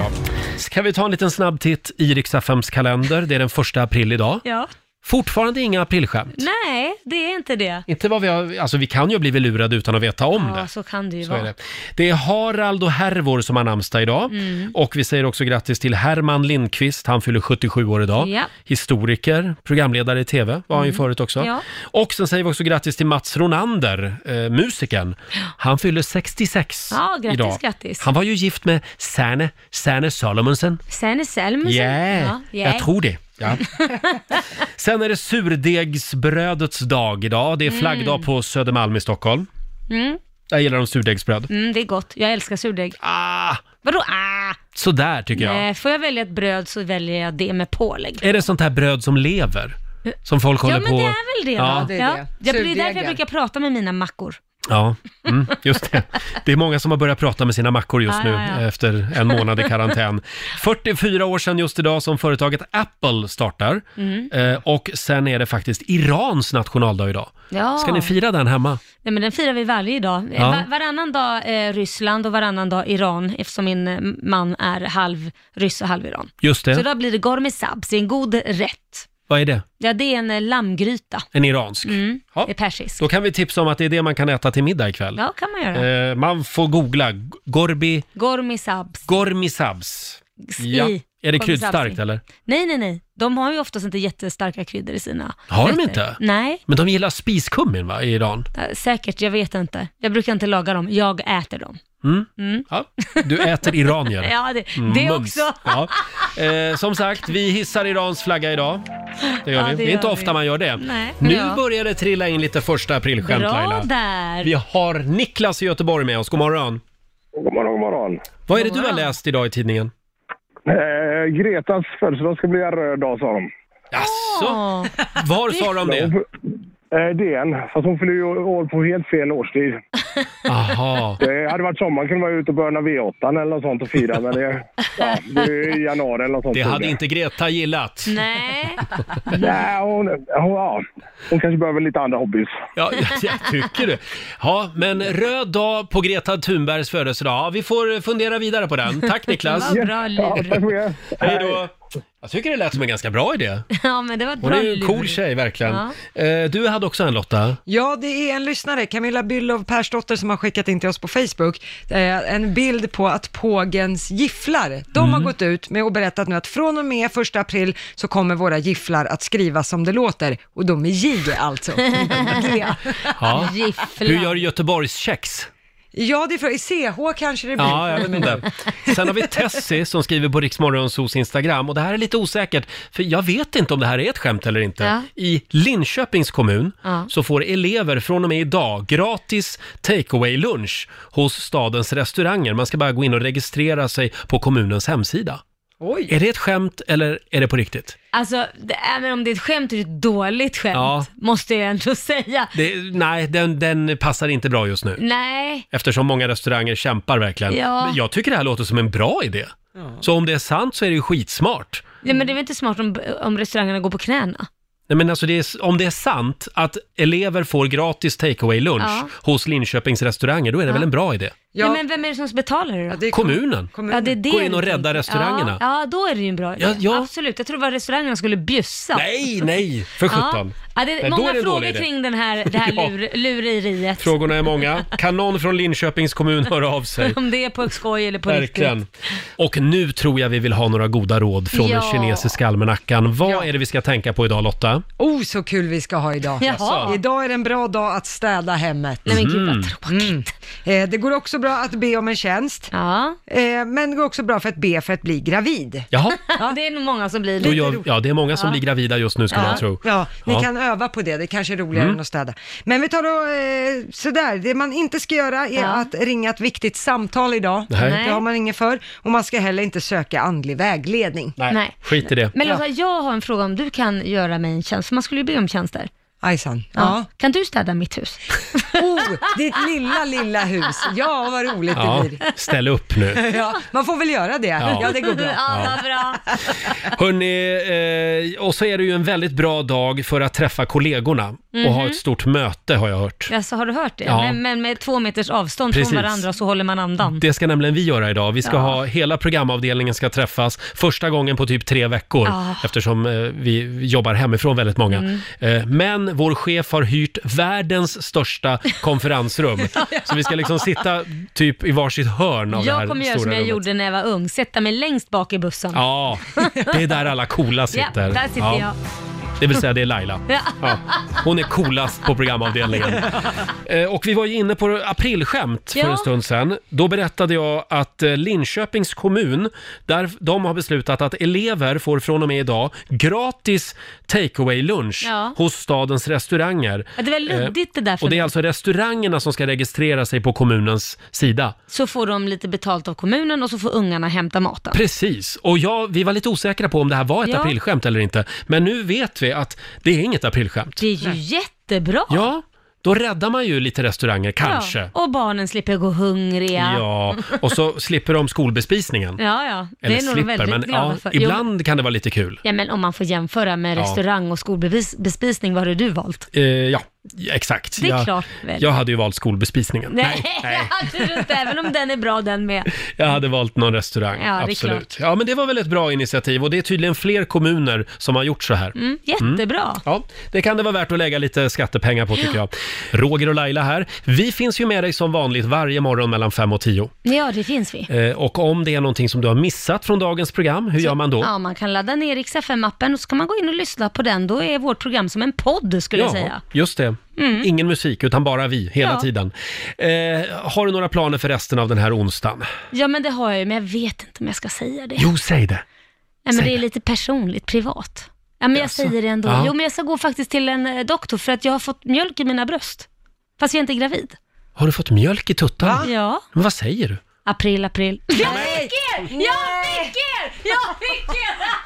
[SPEAKER 1] jag. Ska vi ta en liten snabb titt i Rix FMs kalender? Det är den första april idag.
[SPEAKER 2] Ja.
[SPEAKER 1] Fortfarande inga aprilskämt.
[SPEAKER 2] Nej, det är inte det.
[SPEAKER 1] Inte vad vi har, alltså vi kan ju bli lurade utan att veta om
[SPEAKER 2] Ja,
[SPEAKER 1] det.
[SPEAKER 2] så kan det ju
[SPEAKER 1] Så är
[SPEAKER 2] vara.
[SPEAKER 1] det. det är Harald och Hervor som har namnsdag idag.
[SPEAKER 2] Mm.
[SPEAKER 1] Och vi säger också grattis till Herman Lindqvist, han fyller 77 år idag.
[SPEAKER 2] Ja.
[SPEAKER 1] Historiker, programledare i TV var han ju
[SPEAKER 2] Mm.
[SPEAKER 1] förut också.
[SPEAKER 2] Ja.
[SPEAKER 1] Och sen säger vi också grattis till Mats Ronander, eh, musikern. Han fyller 66
[SPEAKER 2] Ja, grattis,
[SPEAKER 1] idag.
[SPEAKER 2] grattis.
[SPEAKER 1] Han var ju gift med Serne, Serne Salomonsen.
[SPEAKER 2] Sen är Selma
[SPEAKER 1] Yeah, jag tror det. Ja. Sen är det surdegsbrödets dag idag. Det är
[SPEAKER 2] Mm.
[SPEAKER 1] flaggdag på Södermalm i Stockholm.
[SPEAKER 2] Mm.
[SPEAKER 1] Jag gillar de surdegsbröd.
[SPEAKER 2] Mm, det är gott. Jag älskar surdeg.
[SPEAKER 1] Ah!
[SPEAKER 2] Vadå ah?
[SPEAKER 1] Sådär tycker jag.
[SPEAKER 2] Nej, Eh, får jag välja ett bröd så väljer jag det med pålägg.
[SPEAKER 1] Är det sånt här bröd som lever? Eh, Som folk
[SPEAKER 2] ja,
[SPEAKER 1] håller
[SPEAKER 2] men
[SPEAKER 1] på...
[SPEAKER 2] det är väl det
[SPEAKER 1] Ja,
[SPEAKER 2] då. Ja. Ja, det är därför jag brukar prata med mina mackor.
[SPEAKER 1] Ja, mm, just det. Det är många som har börjat prata med sina mackor just
[SPEAKER 2] Ja,
[SPEAKER 1] nu
[SPEAKER 2] Ah, ja, ja.
[SPEAKER 1] efter en månad i karantän. 44 år sedan just idag som företaget Apple startar.
[SPEAKER 2] Mm.
[SPEAKER 1] Eh, och sen är det faktiskt Irans nationaldag idag.
[SPEAKER 2] Ja.
[SPEAKER 1] Ska ni fira den hemma?
[SPEAKER 2] Nej, men den firar vi varje dag. Eh,
[SPEAKER 1] Ja.
[SPEAKER 2] Va- varannan dag eh, Ryssland och varannan dag Iran, eftersom min eh, man är halv ryss och halv iran.
[SPEAKER 1] Just det.
[SPEAKER 2] Så då blir det gormisabs, det är en god rätt.
[SPEAKER 1] Vad är det?
[SPEAKER 2] Ja, det är en eh, lammgryta.
[SPEAKER 1] En iransk?
[SPEAKER 2] Mm,
[SPEAKER 1] Ja.
[SPEAKER 2] Det är persisk.
[SPEAKER 1] Då kan vi tipsa om att det är det man kan äta till middag ikväll.
[SPEAKER 2] Ja, kan man göra.
[SPEAKER 1] Eh, man får googla g- gorbi,
[SPEAKER 2] Gormisabs.
[SPEAKER 1] gormisabs.
[SPEAKER 2] I.
[SPEAKER 1] Är det
[SPEAKER 2] Gormisabs
[SPEAKER 1] kryddstarkt
[SPEAKER 2] i.
[SPEAKER 1] eller?
[SPEAKER 2] Nej, nej, nej. De har ju oftast inte jättestarka kryddor i sina
[SPEAKER 1] Har de
[SPEAKER 2] rätter.
[SPEAKER 1] inte?
[SPEAKER 2] Nej,
[SPEAKER 1] Men de gillar spiskummin va, i Iran?
[SPEAKER 2] eh, säkert. Jag vet inte. Jag brukar inte laga dem. Jag äter dem.
[SPEAKER 1] Mm.
[SPEAKER 2] Mm.
[SPEAKER 1] Ja, du äter iranier. Mm,
[SPEAKER 2] Ja, det, det
[SPEAKER 1] Mums.
[SPEAKER 2] också.
[SPEAKER 1] Ja. Eh, som sagt, vi hissar Irans flagga idag. Det gör
[SPEAKER 2] Ja,
[SPEAKER 1] vi.
[SPEAKER 2] det
[SPEAKER 1] Det är inte
[SPEAKER 2] gör
[SPEAKER 1] ofta
[SPEAKER 2] vi.
[SPEAKER 1] man gör det.
[SPEAKER 2] Nej.
[SPEAKER 1] Nu
[SPEAKER 2] Ja.
[SPEAKER 1] börjar det trilla in lite första aprilskämt
[SPEAKER 2] Bra
[SPEAKER 1] Laila.
[SPEAKER 2] där.
[SPEAKER 1] Vi har Niklas i Göteborg med oss. God morgon.
[SPEAKER 13] God morgon, god morgon.
[SPEAKER 1] Vad är det du har läst idag i tidningen?
[SPEAKER 13] Eh, Gretas födelsedag ska bli en röd dag, sa de.
[SPEAKER 1] Så, var sa de det?
[SPEAKER 13] Eh, DN, fast hon fyller ju år på helt fel årstid.
[SPEAKER 1] Aha.
[SPEAKER 13] Det hade varit sommar kunde man vara ute och börna V8 eller något sånt och fira, men det, ja, det är i januari eller något sånt.
[SPEAKER 1] Det hade inte Greta gillat.
[SPEAKER 2] Nej.
[SPEAKER 13] Nej, hon, hon, ja, hon kanske behöver lite andra hobbys.
[SPEAKER 1] Ja, jag, jag tycker det. Ja, men röd dag på Greta Thunbergs födelsedag. Ja, Vi får fundera vidare på den. Tack Niklas.
[SPEAKER 2] Vad bra lur.
[SPEAKER 1] Hej då. Jag tycker det lät som en ganska bra idé.
[SPEAKER 2] Ja, men det var ett
[SPEAKER 1] Hon
[SPEAKER 2] bra
[SPEAKER 1] är ju en
[SPEAKER 2] lur.
[SPEAKER 1] cool tjej verkligen.
[SPEAKER 2] Ja.
[SPEAKER 1] Eh, Du hade också en Lotta.
[SPEAKER 3] Ja, det är en lyssnare, Camilla Byllov Persdotter, som har skickat in till oss på Facebook eh, en bild på att Pågens gifflar, de
[SPEAKER 1] Mm.
[SPEAKER 3] har gått ut med och berättat nu att från och med 1 april så kommer våra gifflar att skrivas som det låter, och de är J alltså.
[SPEAKER 1] Ja.
[SPEAKER 2] Gifflar.
[SPEAKER 1] Hur gör Göteborgs kex?
[SPEAKER 3] ja, det är för, i CH kanske det blir.
[SPEAKER 1] Ja, jag vet inte. Sen har vi Tessie som skriver på Riksmorgonsos Instagram och det här är lite osäkert för jag vet inte om det här är ett skämt eller inte.
[SPEAKER 2] Ja.
[SPEAKER 1] I Linköpings kommun
[SPEAKER 2] Ja.
[SPEAKER 1] så får elever från och med idag gratis takeaway lunch hos stadens restauranger. Man ska bara gå in och registrera sig på kommunens hemsida.
[SPEAKER 3] Oj.
[SPEAKER 1] Är det ett skämt eller är det på riktigt?
[SPEAKER 2] Alltså, det, även om det är ett skämt, är det ett dåligt skämt,
[SPEAKER 1] Ja.
[SPEAKER 2] måste jag ändå säga.
[SPEAKER 1] Det, nej, den, den passar inte bra just nu.
[SPEAKER 2] Nej,
[SPEAKER 1] Eftersom många restauranger kämpar verkligen.
[SPEAKER 2] Ja.
[SPEAKER 1] Men Jag tycker det här låter som en bra idé. Så om det är sant så är det ju skitsmart.
[SPEAKER 2] nej, men det är väl inte smart om, om restaurangerna går på knäna?
[SPEAKER 1] Nej, men alltså det är, om det är sant att elever får gratis takeaway lunch
[SPEAKER 2] Ja.
[SPEAKER 1] hos Linköpings restauranger, då är det
[SPEAKER 2] Ja.
[SPEAKER 1] väl en bra idé?
[SPEAKER 2] Ja. Nej, men vem är det som betalar det då?
[SPEAKER 1] kom- Kommunen.
[SPEAKER 2] Ja, det är det
[SPEAKER 1] Gå in
[SPEAKER 2] du
[SPEAKER 1] och rädda
[SPEAKER 2] tänker.
[SPEAKER 1] restaurangerna.
[SPEAKER 2] Ja, ja, då är det ju en bra idé.
[SPEAKER 1] Ja, ja.
[SPEAKER 2] Absolut, jag tror bara restaurangerna skulle bjussa.
[SPEAKER 1] Nej, nej, för sjutton.
[SPEAKER 2] Ja. Ja, det
[SPEAKER 1] Nej,
[SPEAKER 2] är
[SPEAKER 1] då
[SPEAKER 2] många
[SPEAKER 1] är det en dålig
[SPEAKER 2] frågor
[SPEAKER 1] idé.
[SPEAKER 2] kring den här, det här
[SPEAKER 1] Ja.
[SPEAKER 2] lur, lureriet.
[SPEAKER 1] Frågorna är många. Kan någon från Linköpings kommun höra av sig?
[SPEAKER 2] Om det är på skoj eller på
[SPEAKER 1] Verkligen.
[SPEAKER 2] riktigt.
[SPEAKER 1] Och nu tror jag vi vill ha några goda råd från den
[SPEAKER 2] Ja.
[SPEAKER 1] kinesiska almanackan. Vad är det vi ska tänka på idag Lotta?
[SPEAKER 3] Oh, så kul vi ska ha idag.
[SPEAKER 1] Jaha.
[SPEAKER 3] Idag är det en bra dag att städa hemmet.
[SPEAKER 1] Nej, men gud, vad
[SPEAKER 3] tråkigt. Eh, det går också bra att be om en tjänst. Eh, men det går också bra för att be för att bli gravid.
[SPEAKER 1] Jaha.
[SPEAKER 2] Ja, det är nog många som blir
[SPEAKER 1] Då
[SPEAKER 3] lite
[SPEAKER 1] gör,
[SPEAKER 3] roligt.
[SPEAKER 1] ja, det är många som
[SPEAKER 3] Ja.
[SPEAKER 1] blir gravida just nu skulle
[SPEAKER 3] ja.
[SPEAKER 1] jag tro.
[SPEAKER 3] Ja, ni
[SPEAKER 1] Ja.
[SPEAKER 3] kan öva på det. Det kanske är roligare
[SPEAKER 1] Mm.
[SPEAKER 3] än att städa. Men vi tar då eh, sådär. Det man inte ska göra är att ringa ett viktigt samtal idag.
[SPEAKER 1] Nej.
[SPEAKER 3] Det har man inget för. Och man ska heller inte söka andlig vägledning.
[SPEAKER 2] Nej.
[SPEAKER 1] Skit i det.
[SPEAKER 2] Men Lotta, jag har en fråga om du kan göra mig en tjänst, för man skulle ju be om tjänster.
[SPEAKER 3] Ajsan. Ja.
[SPEAKER 2] Kan du städa mitt hus?
[SPEAKER 3] Oh, ditt lilla, lilla hus. Ja, vad roligt
[SPEAKER 1] Ja,
[SPEAKER 3] det blir.
[SPEAKER 1] ställ upp nu.
[SPEAKER 3] Ja, man får väl göra det.
[SPEAKER 1] Ja.
[SPEAKER 3] Ja, det går bra.
[SPEAKER 1] Ja, vad
[SPEAKER 2] bra.
[SPEAKER 1] Hörni, eh, och så är det ju en väldigt bra dag för att träffa kollegorna och ha
[SPEAKER 2] Mhm.
[SPEAKER 1] ett stort möte har jag hört.
[SPEAKER 2] Alltså, har du hört det?
[SPEAKER 1] Ja.
[SPEAKER 2] Men, men med två meters avstånd
[SPEAKER 1] Precis.
[SPEAKER 2] från varandra så håller man andan.
[SPEAKER 1] Det ska nämligen vi göra idag. Vi ska
[SPEAKER 2] Ja.
[SPEAKER 1] ha, hela programavdelningen ska träffas första gången på typ tre veckor
[SPEAKER 2] Ah.
[SPEAKER 1] eftersom eh, vi jobbar hemifrån väldigt många.
[SPEAKER 2] Mm.
[SPEAKER 1] Eh, men vår chef har hyrt världens största konferensrum. Så vi ska liksom sitta typ i varsitt hörn av det här
[SPEAKER 2] Jag kommer göra som
[SPEAKER 1] stora
[SPEAKER 2] jag
[SPEAKER 1] rummet.
[SPEAKER 2] gjorde när jag var ung, sätta mig längst bak i bussen.
[SPEAKER 1] Ja, det är där alla coola sitter.
[SPEAKER 2] Ja, där sitter
[SPEAKER 1] Ja.
[SPEAKER 2] jag.
[SPEAKER 1] Det vill säga det är Laila.
[SPEAKER 2] Ja.
[SPEAKER 1] Ja. Hon är coolast på programavdelningen. Eh, Och vi var ju inne på aprilskämt för
[SPEAKER 2] Ja.
[SPEAKER 1] en stund sedan. Då berättade jag att eh, Linköpings kommun, där de har beslutat att elever får från och med idag gratis takeaway lunch
[SPEAKER 2] Ja.
[SPEAKER 1] hos stadens restauranger.
[SPEAKER 2] Ja, det var luddigt det där för
[SPEAKER 1] Eh, Och det
[SPEAKER 2] mig.
[SPEAKER 1] är alltså restaurangerna som ska registrera sig på kommunens sida.
[SPEAKER 2] Så får de lite betalt av kommunen och så får ungarna hämta maten.
[SPEAKER 1] Precis, och ja, vi var lite osäkra på om det här var ett
[SPEAKER 2] Ja.
[SPEAKER 1] aprilskämt eller inte. Men nu vet vi att det är inget aprilskämt.
[SPEAKER 2] Det är ju jättebra.
[SPEAKER 1] Ja, då räddar man ju lite restauranger, kanske.
[SPEAKER 2] Ja, Och barnen slipper gå hungriga.
[SPEAKER 1] Ja, och så slipper de skolbespisningen.
[SPEAKER 2] ja. ja. Det
[SPEAKER 1] Eller
[SPEAKER 2] är nog de
[SPEAKER 1] slipper,
[SPEAKER 2] väldigt
[SPEAKER 1] men
[SPEAKER 2] glada
[SPEAKER 1] ja,
[SPEAKER 2] för. Jo,
[SPEAKER 1] ibland kan det vara lite kul.
[SPEAKER 2] Ja, men om man får jämföra med
[SPEAKER 1] Ja.
[SPEAKER 2] restaurang och skolbespisning, vad hade du valt?
[SPEAKER 1] Eh, ja, Ja, Exakt.
[SPEAKER 2] Det är
[SPEAKER 1] jag,
[SPEAKER 2] klart väl.
[SPEAKER 1] jag hade ju valt skolbespisningen.
[SPEAKER 2] Nej, det hade du inte, även om den är bra den med.
[SPEAKER 1] Jag hade valt någon restaurang,
[SPEAKER 2] Ja, det är
[SPEAKER 1] absolut. Ja, men det var väl ett bra initiativ och det är tydligen fler kommuner som har gjort så här.
[SPEAKER 2] Mm, jättebra.
[SPEAKER 1] Ja, det kan det vara värt att lägga lite skattepengar på tycker jag. Roger och Laila här. Vi finns ju med dig som vanligt varje morgon mellan 5 och 10.
[SPEAKER 2] Ja, det finns vi.
[SPEAKER 1] Eh, Och om det är någonting som du har missat från dagens program, hur gör man då?
[SPEAKER 2] Ja, man kan ladda ner Rix FM-appen och så kan man gå in och lyssna på den. Då är vårt program som en podd skulle jag säga.
[SPEAKER 1] just det.
[SPEAKER 2] Mm.
[SPEAKER 1] Ingen musik, utan bara vi hela
[SPEAKER 2] Ja.
[SPEAKER 1] tiden. Eh, har du några planer för resten av den här onsdagen?
[SPEAKER 2] Ja, men det har jag ju, men jag vet inte om jag ska säga det.
[SPEAKER 1] Jo, säg det!
[SPEAKER 2] Nej, men
[SPEAKER 1] säg
[SPEAKER 2] det är lite personligt, privat. Ja, men jag säger det ändå.
[SPEAKER 1] Ja.
[SPEAKER 2] Jo, men jag ska gå faktiskt till en eh, doktor för att jag har fått mjölk i mina bröst. Fast jag är inte gravid.
[SPEAKER 1] Har du fått mjölk i tuttarna?
[SPEAKER 2] Ja.
[SPEAKER 1] Men vad säger du?
[SPEAKER 2] April, april. Jag fick er! Jag fick er! Jag fick er!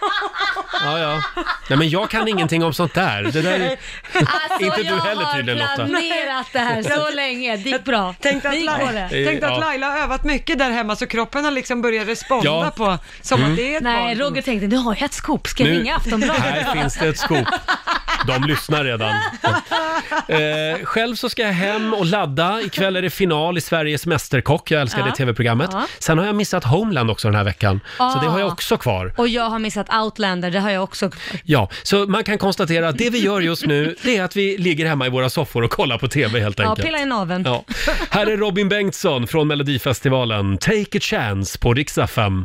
[SPEAKER 1] Ja, ja. Nej, men jag kan ingenting om sånt där. Det där är...
[SPEAKER 2] Alltså,
[SPEAKER 1] Inte du
[SPEAKER 2] jag
[SPEAKER 1] heller
[SPEAKER 2] har
[SPEAKER 1] tydligen, Lotta.
[SPEAKER 2] planerat det här så länge. Det gick bra.
[SPEAKER 3] Tänkte
[SPEAKER 2] Det
[SPEAKER 3] att,
[SPEAKER 2] gick på
[SPEAKER 3] Laila,
[SPEAKER 2] det.
[SPEAKER 3] tänkte
[SPEAKER 1] Ja.
[SPEAKER 3] att Laila har övat mycket där hemma så kroppen har liksom börjat responda
[SPEAKER 1] Ja.
[SPEAKER 3] på som
[SPEAKER 1] Mm.
[SPEAKER 3] att det är ett
[SPEAKER 2] Nej,
[SPEAKER 3] barn.
[SPEAKER 2] Roger tänkte, nu har jag ett scoop. Ska jag
[SPEAKER 1] Nu-
[SPEAKER 2] ringa Aftonbladet?
[SPEAKER 1] Här finns det ett scoop. De lyssnar redan. Eh, själv så ska jag hem och ladda. Ikväll är det final i Sveriges Mästerkock. Jag älskar
[SPEAKER 2] Ja.
[SPEAKER 1] det tv-programmet.
[SPEAKER 2] Ja.
[SPEAKER 1] Sen har jag missat Homeland också den här veckan. Så det har jag
[SPEAKER 2] Ah.
[SPEAKER 1] också kvar.
[SPEAKER 2] Och jag har missat Outlander, det har jag också kvar.
[SPEAKER 1] Ja, så man kan konstatera att det vi gör just nu, det är att vi ligger hemma i våra soffor och kollar på tv helt
[SPEAKER 2] Ja,
[SPEAKER 1] enkelt.
[SPEAKER 2] pilla i naveln.
[SPEAKER 1] Ja. Här är Robin Bengtsson från Melodifestivalen. Take a chance på Rix FM.